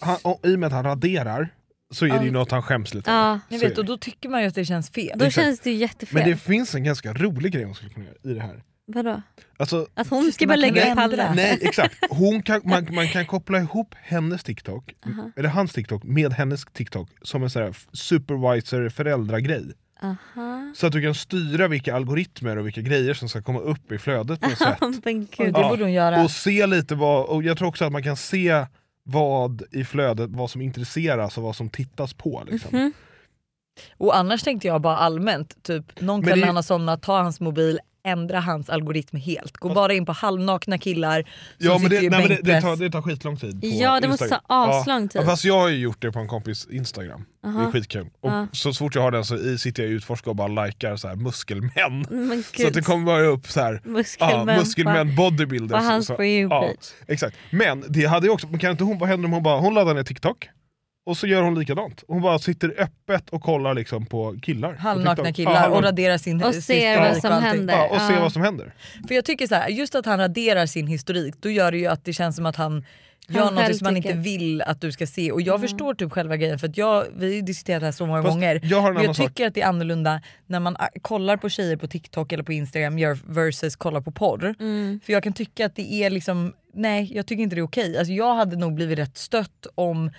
Speaker 6: han, och, i och med att han raderar så är det ju något han skäms lite över.
Speaker 4: Ja.
Speaker 7: Ni
Speaker 6: Så är
Speaker 7: vet,
Speaker 6: det.
Speaker 7: och då tycker man ju att det känns fel.
Speaker 4: Då
Speaker 6: Exakt.
Speaker 4: känns det ju jättefel.
Speaker 6: Men det finns en ganska rolig grej hon skulle kunna göra i det här.
Speaker 4: Vadå?
Speaker 6: Alltså,
Speaker 4: Att hon ska
Speaker 7: man
Speaker 4: bara
Speaker 7: kan
Speaker 4: lägga upp
Speaker 7: ändra.
Speaker 4: alla?
Speaker 6: nej, exakt. Hon kan, man, man kan koppla ihop hennes TikTok,
Speaker 4: Aha.
Speaker 6: eller hans TikTok, med hennes TikTok som en sån här supervisor föräldragrej.
Speaker 4: Aha.
Speaker 6: Så att du kan styra vilka algoritmer och vilka grejer som ska komma upp i flödet på något sätt.
Speaker 4: Men
Speaker 7: Och
Speaker 4: gud.
Speaker 7: det
Speaker 6: Ja.
Speaker 7: borde hon göra.
Speaker 6: Och se lite vad, och jag tror också att man kan se vad i flödet, vad som intresseras och vad som tittas på. Liksom.
Speaker 4: Mhm.
Speaker 7: Och annars tänkte jag bara allmänt, typ någon
Speaker 6: Men
Speaker 7: kväll
Speaker 6: det-
Speaker 7: när han har somnat, ta hans mobil, ändra hans algoritm helt. Gå bara in på halvnakna killar som
Speaker 6: Ja men,
Speaker 7: sitter
Speaker 6: det,
Speaker 7: i
Speaker 6: nej, men det, det,
Speaker 7: bänkpress.
Speaker 6: tar, det tar skitlång tid. På
Speaker 4: Ja, det måste
Speaker 6: Instagram.
Speaker 4: ta aslång
Speaker 6: Ja.
Speaker 4: tid.
Speaker 6: Ja, fast jag har ju gjort det på en kompis Instagram. Det
Speaker 4: Aha.
Speaker 6: är skitkul. Och
Speaker 4: Ja.
Speaker 6: Så fort jag har den så i- sitter jag och utforskar och bara likar så här, muskelmän.
Speaker 4: Men gud.
Speaker 6: Så att det kommer bara upp så här,
Speaker 4: Muskelmän.
Speaker 6: ja, Alltså, muskelmän
Speaker 4: va?
Speaker 6: bodybuilders.
Speaker 4: På hans
Speaker 6: så,
Speaker 4: For You-page.
Speaker 6: exakt. Men det hade jag också, men kan inte hon, vad händer om hon bara hon laddar ner TikTok och så gör hon likadant. Hon bara sitter öppet och kollar liksom på killar. på
Speaker 7: Halvnakna
Speaker 6: TikTok.
Speaker 7: killar
Speaker 6: Ja, halvnakna-
Speaker 7: och raderar sin
Speaker 4: Och
Speaker 7: sin
Speaker 4: ser
Speaker 7: historik
Speaker 4: vad
Speaker 7: och
Speaker 4: som
Speaker 7: allting.
Speaker 4: händer.
Speaker 6: ja, och ser
Speaker 4: Ja.
Speaker 6: vad som händer.
Speaker 7: För jag tycker så här, just att han raderar sin historik då gör det ju att det känns som att han gör
Speaker 4: själv
Speaker 7: något som han
Speaker 4: tycker. Mm.
Speaker 7: inte vill att du ska se. Och jag förstår typ själva grejen för att jag, vi har ju diskuterat det här så många
Speaker 6: Fast
Speaker 7: gånger.
Speaker 6: jag har en
Speaker 7: men jag
Speaker 6: annan sak.
Speaker 7: tycker att det är annorlunda när man ah, kollar på tjejer på TikTok eller på Instagram gör- versus kollar på porr.
Speaker 4: Mm.
Speaker 7: För jag kan tycka att det är liksom, nej jag tycker inte det är okej. Alltså jag hade nog blivit rätt stött om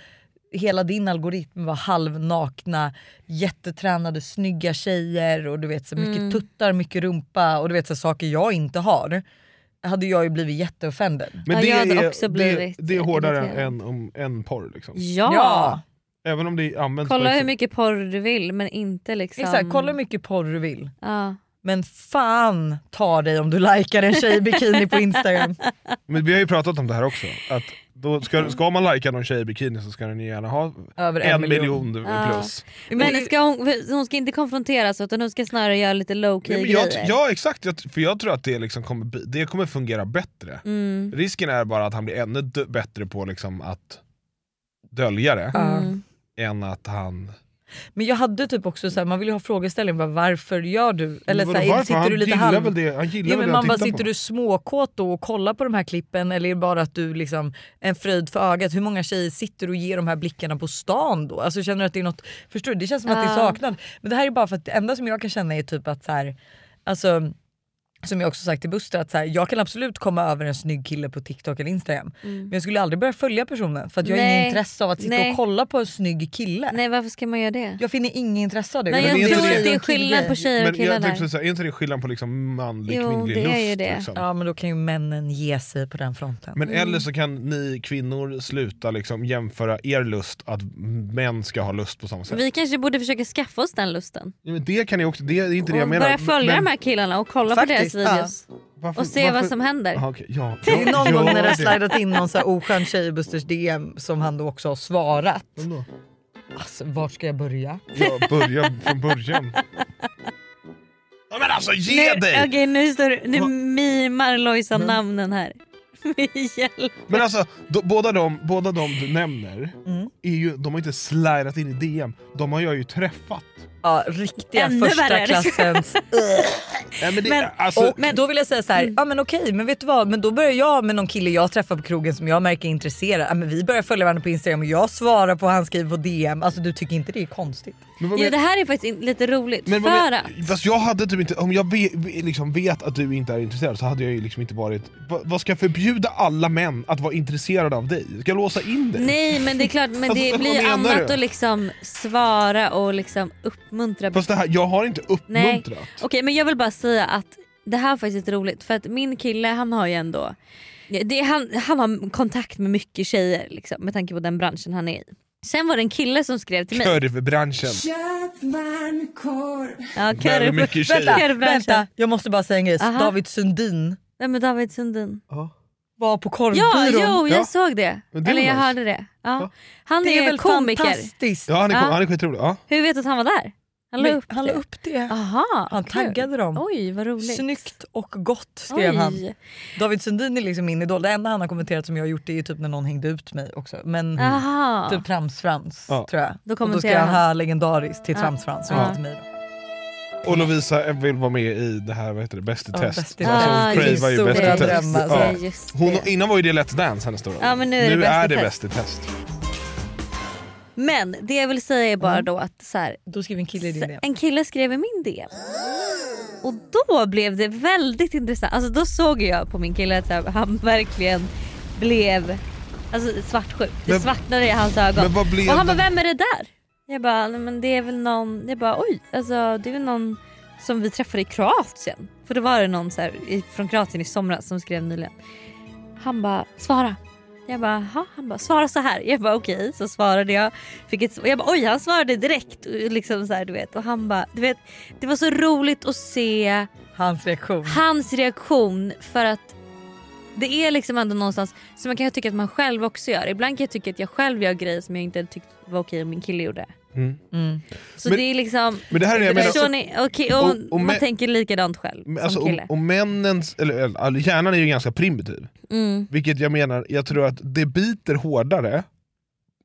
Speaker 7: Hela din algoritm var halvnakna, jättetränade, snygga tjejer och du vet så mycket
Speaker 4: Mm.
Speaker 7: tuttar, mycket rumpa och du vet så saker jag inte har hade jag ju blivit jätteoffended.
Speaker 4: Ja, jag hade
Speaker 6: är,
Speaker 4: också
Speaker 6: det,
Speaker 4: blivit
Speaker 6: det är hårdare
Speaker 4: irriterad.
Speaker 6: än, om, än porr. Liksom.
Speaker 4: Ja.
Speaker 6: Även om det används på
Speaker 4: Kolla
Speaker 6: ett
Speaker 4: hur
Speaker 6: sätt-
Speaker 4: mycket porr du vill men inte liksom...
Speaker 7: Exakt, kolla hur mycket porr du vill.
Speaker 4: Ja.
Speaker 7: Men fan ta dig om du likar en tjej i bikini på Instagram.
Speaker 6: Men vi har ju pratat om det här också. Att då ska, ska man lajka någon tjej i bikini så ska den ju gärna ha
Speaker 7: Över
Speaker 6: en miljon plus.
Speaker 4: Men ska hon, hon ska inte konfronteras utan hon ska snarare göra lite low key
Speaker 6: Ja, men jag,
Speaker 4: grejer.
Speaker 6: ja exakt, jag, för jag tror att det, liksom kommer, bli- det kommer fungera bättre.
Speaker 4: Mm.
Speaker 6: Risken är bara att han blir ännu d- bättre på liksom att dölja det
Speaker 4: Mm.
Speaker 6: än att han...
Speaker 7: Men jag hade typ också så här, man vill ju ha frågeställning bara, varför gör du? Eller så
Speaker 6: Vadå,
Speaker 7: här,
Speaker 6: varför?
Speaker 7: sitter du
Speaker 6: han
Speaker 7: lite
Speaker 6: gillar
Speaker 7: halv...
Speaker 6: väl det, han gillar
Speaker 7: Ja,
Speaker 6: väl
Speaker 7: men
Speaker 6: det
Speaker 7: man
Speaker 6: han
Speaker 7: bara
Speaker 6: tittar på.
Speaker 7: sitter du småkåt då och kollar på de här klippen eller är det bara att du liksom en fröjd för ögat? Hur många tjejer sitter och ger de här blickarna på stan då? Alltså känner du att det är något, förstår du? Det känns som att det
Speaker 4: Ja.
Speaker 7: är saknad. Men det här är bara för att det enda som jag kan känna är typ att så här, alltså som jag också sagt till Buster, att så här, jag kan absolut komma över en snygg kille på TikTok eller Instagram. Men jag skulle aldrig börja följa personen för att jag har
Speaker 4: Mm. Nej.
Speaker 7: inget intresse av att sitta
Speaker 4: Nej.
Speaker 7: och kolla på en snygg kille.
Speaker 4: Nej varför ska man göra det?
Speaker 7: Jag finner inget intresse av det.
Speaker 4: Nej,
Speaker 6: Men är
Speaker 4: jag
Speaker 6: inte
Speaker 4: tror
Speaker 6: det-
Speaker 4: att det är skillnad på tjejer
Speaker 6: Men
Speaker 4: och killar
Speaker 6: jag
Speaker 4: där.
Speaker 6: tänkte säga, är inte det skillnad på liksom manlig
Speaker 4: Jo,
Speaker 6: kvinnlig
Speaker 4: det är ju
Speaker 6: lust?
Speaker 4: det.
Speaker 6: Liksom?
Speaker 7: Ja Mm. men då kan ju männen ge sig på den fronten.
Speaker 6: Men eller så kan ni kvinnor sluta liksom jämföra er lust att män ska ha lust på samma sätt.
Speaker 4: Vi kanske borde försöka skaffa oss den lusten.
Speaker 6: Ja, men det kan ni också, det är inte det jag
Speaker 4: och
Speaker 6: menar.
Speaker 4: börja följa
Speaker 6: Men
Speaker 4: de här killarna och kolla på
Speaker 7: Faktiskt,
Speaker 4: deras videos.
Speaker 6: varför-
Speaker 4: Och se
Speaker 6: varför-
Speaker 4: vad som händer.
Speaker 6: Aha, okej, ja,
Speaker 7: Det är
Speaker 6: ja,
Speaker 7: någon
Speaker 6: ja,
Speaker 7: gång när det har
Speaker 6: det-
Speaker 7: slidat in någon så här oskön tjej i Busters DM som han då också har svarat.
Speaker 6: Vem då?
Speaker 7: Alltså, vart ska jag börja?
Speaker 6: Ja, börja från början. Ja, men alltså ge
Speaker 4: Nu-
Speaker 6: dig!
Speaker 4: Okej nu, står det- nu
Speaker 6: Va-
Speaker 4: mimar Lojsan namnen här. Hjälp.
Speaker 6: Men alltså då, båda, de, båda de du nämner, är ju, de har inte slidat in i DM, de har jag ju träffat.
Speaker 7: Ja, riktiga
Speaker 4: Ännu
Speaker 7: första
Speaker 4: värre.
Speaker 7: klassens...
Speaker 6: Nej, men det,
Speaker 4: Men-
Speaker 6: alltså,
Speaker 7: och då vill jag säga så här, ja men okej men vet du vad, men då börjar jag med någon kille jag träffar på krogen som jag märker är intresserad. Ja, men vi börjar följa varandra på Instagram och jag svarar på vad han skriver på DM. Alltså du tycker inte det är konstigt?
Speaker 6: men vad
Speaker 4: Jo
Speaker 6: men-
Speaker 4: det här är faktiskt in- lite roligt.
Speaker 6: Men,
Speaker 4: för
Speaker 6: men,
Speaker 4: att
Speaker 6: fast jag hade typ inte, om jag be, be- liksom vet att du inte är intresserad så hade jag ju liksom inte varit... Va, vad ska jag förbjuda alla män att vara intresserade av dig? Ska jag låsa in dig?
Speaker 4: Nej men det är klart men det
Speaker 6: Vad- Alltså, vad
Speaker 4: blir ju
Speaker 6: menar du?
Speaker 4: annat att liksom svara och liksom uppmuntra.
Speaker 6: Fast det här, jag har inte
Speaker 4: Nej.
Speaker 6: uppmuntrat.
Speaker 4: Okej men jag vill bara säga att det här är faktiskt roligt för att min kille han har ju ändå det är, han, han har kontakt med mycket tjejer liksom, med tanke på den branschen han är i. Sen var det en kille som skrev till mig.
Speaker 6: Kurvbranschen.
Speaker 4: Ja,
Speaker 6: Väldigt
Speaker 4: kurv,
Speaker 6: mycket
Speaker 7: Vänta,
Speaker 6: tjejer.
Speaker 4: Kurvbranschen.
Speaker 7: vänta, jag måste bara säga en grej.
Speaker 4: Aha.
Speaker 7: David Sundin
Speaker 4: Nej, men David Sundin.
Speaker 7: var på korvbyrån.
Speaker 4: Ja, jo, jag
Speaker 6: Ja.
Speaker 4: såg det.
Speaker 6: Men det
Speaker 4: Eller
Speaker 6: var
Speaker 4: jag
Speaker 6: nice.
Speaker 4: hörde det. Ja. Han
Speaker 7: Det är
Speaker 4: är,
Speaker 7: väl
Speaker 4: komiker.
Speaker 7: fantastiskt.
Speaker 6: Ja, han är, ja. Han är skitrolig. Ja.
Speaker 4: Hur vet du att han var där? Han la
Speaker 7: Men
Speaker 4: upp
Speaker 7: han la
Speaker 4: det.
Speaker 7: upp det.
Speaker 4: Aha,
Speaker 7: Han taggade dem.
Speaker 4: Oj, vad roligt.
Speaker 7: Snyggt och gott skrev
Speaker 4: Oj.
Speaker 7: han. David Sundin är liksom min idol. Det enda han har kommenterat som jag har gjort det är ju typ när någon hängde ut mig också. Men
Speaker 4: Aha.
Speaker 7: typ Tramsfrans
Speaker 6: Ja.
Speaker 7: tror jag.
Speaker 4: Då
Speaker 7: och då ska
Speaker 4: kommenterar
Speaker 7: han ha
Speaker 4: han.
Speaker 7: legendariskt till
Speaker 4: Ja.
Speaker 7: Tramsfrans och
Speaker 6: Ja.
Speaker 7: inte till mig.
Speaker 6: Och Lovisa vill vara med i det här, vad heter det, Bäst i
Speaker 7: Ja,
Speaker 6: test.
Speaker 7: Bäst i
Speaker 6: Alltså,
Speaker 7: test.
Speaker 6: hon
Speaker 7: Ah,
Speaker 6: cravar ju
Speaker 7: just
Speaker 6: Bäst i
Speaker 7: det.
Speaker 6: test.
Speaker 7: Drömmar,
Speaker 6: Ja.
Speaker 7: alltså. Ja, just
Speaker 6: Hon, innan var ju det Let's Dance hennes stora
Speaker 4: Ja,
Speaker 6: roll.
Speaker 4: men nu är det Bäst i test.
Speaker 6: Bäst i test.
Speaker 4: Men det jag vill säga är bara då att så här,
Speaker 7: Då skrev en kille i din DM.
Speaker 4: en kille skrev i min DM. Och då blev det väldigt intressant. Alltså då såg jag på min kille att så här, han verkligen blev alltså, svartsjuk. Det
Speaker 6: Men-
Speaker 4: svartnade i hans ögon.
Speaker 6: men vad blev
Speaker 4: och han bara,
Speaker 6: det?
Speaker 4: vem är det där? Jag bara, "Nej, men det är väl någon, jag bara oj, alltså det är väl någon som vi träffade i Kroatien. För då var det någon så här, i- från Kroatien i somras som skrev nyligen. Han bara, svara. Jag bara, "Jaha." han bara, svara så här. Jag bara, okej. Så svarade jag. Fick ett, jag bara, oj, han svarade direkt. Och Liksom så här, du vet. Och han bara, du vet, det var så roligt att se
Speaker 7: Hans reaktion.
Speaker 4: hans reaktion för att det är liksom ändå någonstans som man kan tycka att man själv också gör. Ibland kan jag tycka att jag själv gör grejer som jag inte tyckte var okej om min kille gjorde.
Speaker 6: Mm.
Speaker 4: Så
Speaker 6: Men-
Speaker 4: det är liksom...
Speaker 6: men det här är det jag menar.
Speaker 4: Förstår ni? Okej, och,
Speaker 6: Och- och
Speaker 4: man
Speaker 6: mä-
Speaker 4: tänker likadant själv
Speaker 6: Men
Speaker 4: som
Speaker 6: Alltså, och,
Speaker 4: kille.
Speaker 6: och männens, eller, eller all- hjärnan är ju ganska primitiv.
Speaker 4: Mm.
Speaker 6: Vilket jag menar, jag tror att det biter hårdare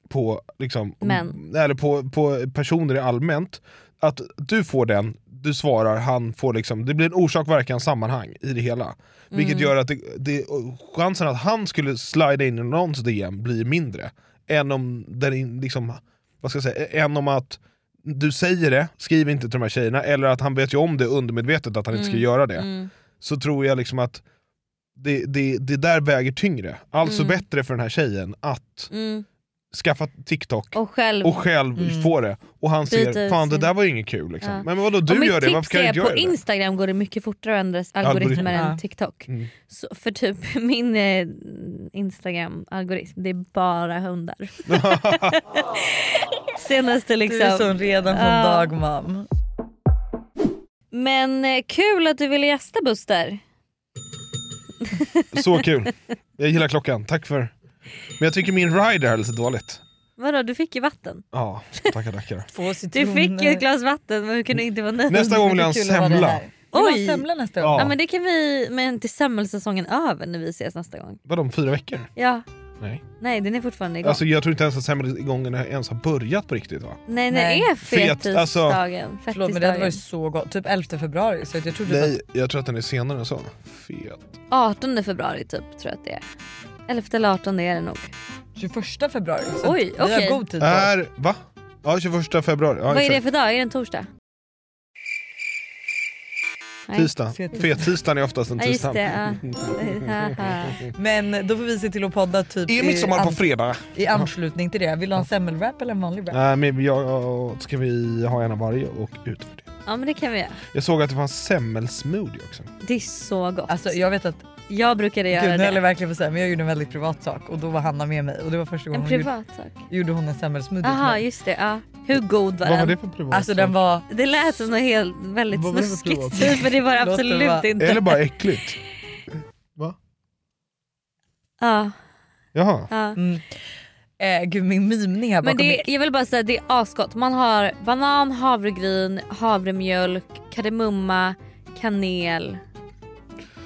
Speaker 6: på, liksom,
Speaker 4: Män.
Speaker 6: eller på, på personer i allmänt. Att du får den, du svarar, han får liksom, det blir en orsak, verkan, sammanhang i det hela. Vilket
Speaker 11: Mm.
Speaker 6: gör att det, det, och chansen att han skulle slida in i någons DM blir mindre. Än om, den, in- liksom, vad ska jag säga, än om att du säger det, skriv inte till de här tjejerna, eller att han vet ju om det undermedvetet att han inte ska
Speaker 11: Mm.
Speaker 6: göra det.
Speaker 11: Mm.
Speaker 6: Så tror jag liksom att det, det, det där väger tyngre. Alltså
Speaker 4: Mm.
Speaker 6: bättre för den här tjejen att
Speaker 4: Mm.
Speaker 6: skaffa TikTok
Speaker 4: Och själv.
Speaker 6: och själv
Speaker 4: Mm.
Speaker 6: få det. Och han
Speaker 4: Byta
Speaker 6: ser,
Speaker 4: ut
Speaker 6: fan det
Speaker 4: sin-
Speaker 6: där var ju inget kul. Liksom.
Speaker 4: Ja.
Speaker 6: Men vadå
Speaker 4: Och
Speaker 6: du
Speaker 4: mitt
Speaker 6: gör det,
Speaker 4: tips
Speaker 6: varför kan
Speaker 4: är
Speaker 6: inte jag
Speaker 4: På
Speaker 6: göra det?
Speaker 4: Instagram går det mycket fortare att ändra algoritmer
Speaker 6: Algoritmer.
Speaker 4: än
Speaker 6: Ja.
Speaker 4: TikTok.
Speaker 6: Mm.
Speaker 4: Så, för typ min eh, Instagram-algoritm, det är bara hundar. Senaste liksom.
Speaker 7: Du är sån redan från
Speaker 4: Ja.
Speaker 7: dag mam.
Speaker 4: Men eh, kul att du ville gästa Buster.
Speaker 6: Så kul. Jag gillar klockan, tack för... Men jag tycker min rider är lite dåligt.
Speaker 4: Vadå, du fick ju vatten.
Speaker 6: Ja, tackar tackar.
Speaker 4: Du fick ju ett glas vatten men hur kunde du inte vara nöjd?
Speaker 6: Nästa gång vill jag ha en semla.
Speaker 7: eh. ha
Speaker 4: Oj!
Speaker 7: semla nästa
Speaker 6: gång?
Speaker 4: Ja.
Speaker 6: Ja.
Speaker 4: men det kan vi, men inte semmelsäsongen över när vi ses nästa gång.
Speaker 6: Vadå om fyra veckor?
Speaker 4: Ja,
Speaker 6: Nej.
Speaker 4: nej den är fortfarande igång.
Speaker 6: Alltså jag tror inte ens att semmelgången ens har börjat på riktigt va?
Speaker 4: nej den är
Speaker 6: Fet,
Speaker 4: fetisdagen.
Speaker 6: alltså-
Speaker 7: Förlåt men det hade varit så gott. Typ 11 februari så att jag trodde
Speaker 6: Nej, jag tror att den är senare än så. Fet.
Speaker 4: 18 februari typ tror jag att det är. 11 eller 18 är det nog.
Speaker 7: 21 februari. Så
Speaker 4: Oj,
Speaker 7: vi
Speaker 4: okej.
Speaker 7: har god tid på oss.
Speaker 6: Är, va? Ja, 21 februari. Ja,
Speaker 4: Vad är det
Speaker 6: exakt.
Speaker 4: för dag? Är det en torsdag? Nej.
Speaker 6: Tisdag. Fet-tisdagen är oftast en
Speaker 4: Ja, just
Speaker 6: tisdag.
Speaker 4: det,
Speaker 7: Men då får vi se till att podda typ
Speaker 6: Är midsommar på
Speaker 7: ans-
Speaker 6: fredag?
Speaker 7: i anslutning till det. Vill du ha en semmelwrap eller en vanlig wrap?
Speaker 6: Nej, men jag, ska vi ha en av varje och ut?
Speaker 4: Ja men det kan vi göra.
Speaker 6: Jag såg att det fanns semmelsmoothie också.
Speaker 4: Det är så gott.
Speaker 7: Alltså jag vet att
Speaker 4: jag brukade göra
Speaker 7: Gud, nu höll jag
Speaker 4: det.
Speaker 7: verkligen på att säga, men jag gjorde en väldigt privat sak och då var Hanna med mig och det var första gången
Speaker 4: En privat sak.
Speaker 7: hon gjorde, gjorde hon en semmelsmoothie till
Speaker 4: Jaha
Speaker 7: mig.
Speaker 4: just det. Ja. Hur god var den?
Speaker 7: Alltså den var...
Speaker 4: Det lät som något helt, väldigt
Speaker 7: Vad var det för privat?
Speaker 4: snuskigt typ, men det var det
Speaker 7: Låter
Speaker 4: absolut
Speaker 7: bara-
Speaker 4: inte.
Speaker 6: Eller bara äckligt.
Speaker 4: Ja.
Speaker 6: Jaha.
Speaker 4: ja.
Speaker 7: Eh, gud min mimning här
Speaker 4: Men
Speaker 7: bakom
Speaker 4: det,
Speaker 7: mick.
Speaker 4: jag vill bara säga det är asgott. Man har banan, havregryn, havremjölk, kardemumma, kanel.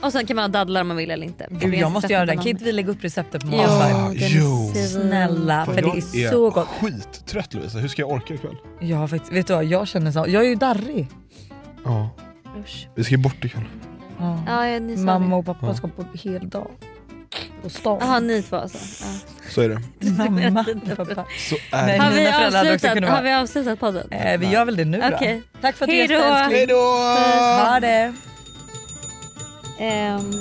Speaker 4: Och sen kan man ha dadlar om man vill eller inte.
Speaker 7: Gud, jag måste göra den. Ah, Kan
Speaker 4: Kid.
Speaker 7: inte vi lägga upp receptet på
Speaker 4: Jo,
Speaker 7: Matlife?
Speaker 4: den är Jo. svin-
Speaker 7: Snälla,
Speaker 4: Fan,
Speaker 7: för det
Speaker 4: jag
Speaker 7: är så gott.
Speaker 6: Jag är skittrött Lovisa, hur ska jag orka ikväll?
Speaker 7: Jag har faktiskt, vet du vad, jag känner så. Jag är ju darrig.
Speaker 6: Ja. Vi ska ju bort ikväll.
Speaker 7: Ja.
Speaker 4: Ja, ja, ni sa
Speaker 7: Mamma
Speaker 4: det.
Speaker 7: och pappa
Speaker 6: Ja.
Speaker 7: ska på hel dag. På stan.
Speaker 4: Jaha ni två alltså.
Speaker 6: Så är det.
Speaker 4: Ja.
Speaker 7: Mamma och pappa.
Speaker 6: Så är
Speaker 7: Nej,
Speaker 4: Har vi,
Speaker 7: mina föräldrar hade också
Speaker 4: avslutat,
Speaker 7: kunnat vara-
Speaker 4: har vi avslutat podden?
Speaker 7: Eh, vi gör väl det nu då.
Speaker 4: Okej.
Speaker 7: Tack för att du
Speaker 4: Hej då.
Speaker 7: gästade älskling.
Speaker 4: Hej då.
Speaker 7: Puss. Ha det.
Speaker 4: Ehm,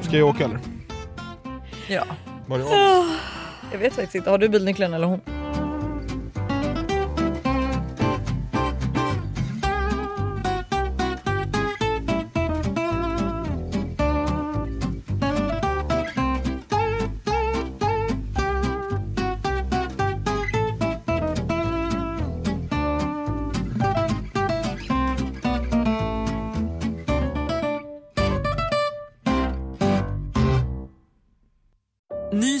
Speaker 6: Ska jag åka eller?
Speaker 7: Ja.
Speaker 6: Var det
Speaker 7: Jag vet faktiskt inte. Har du bilnycklarna eller hon?
Speaker 1: Ny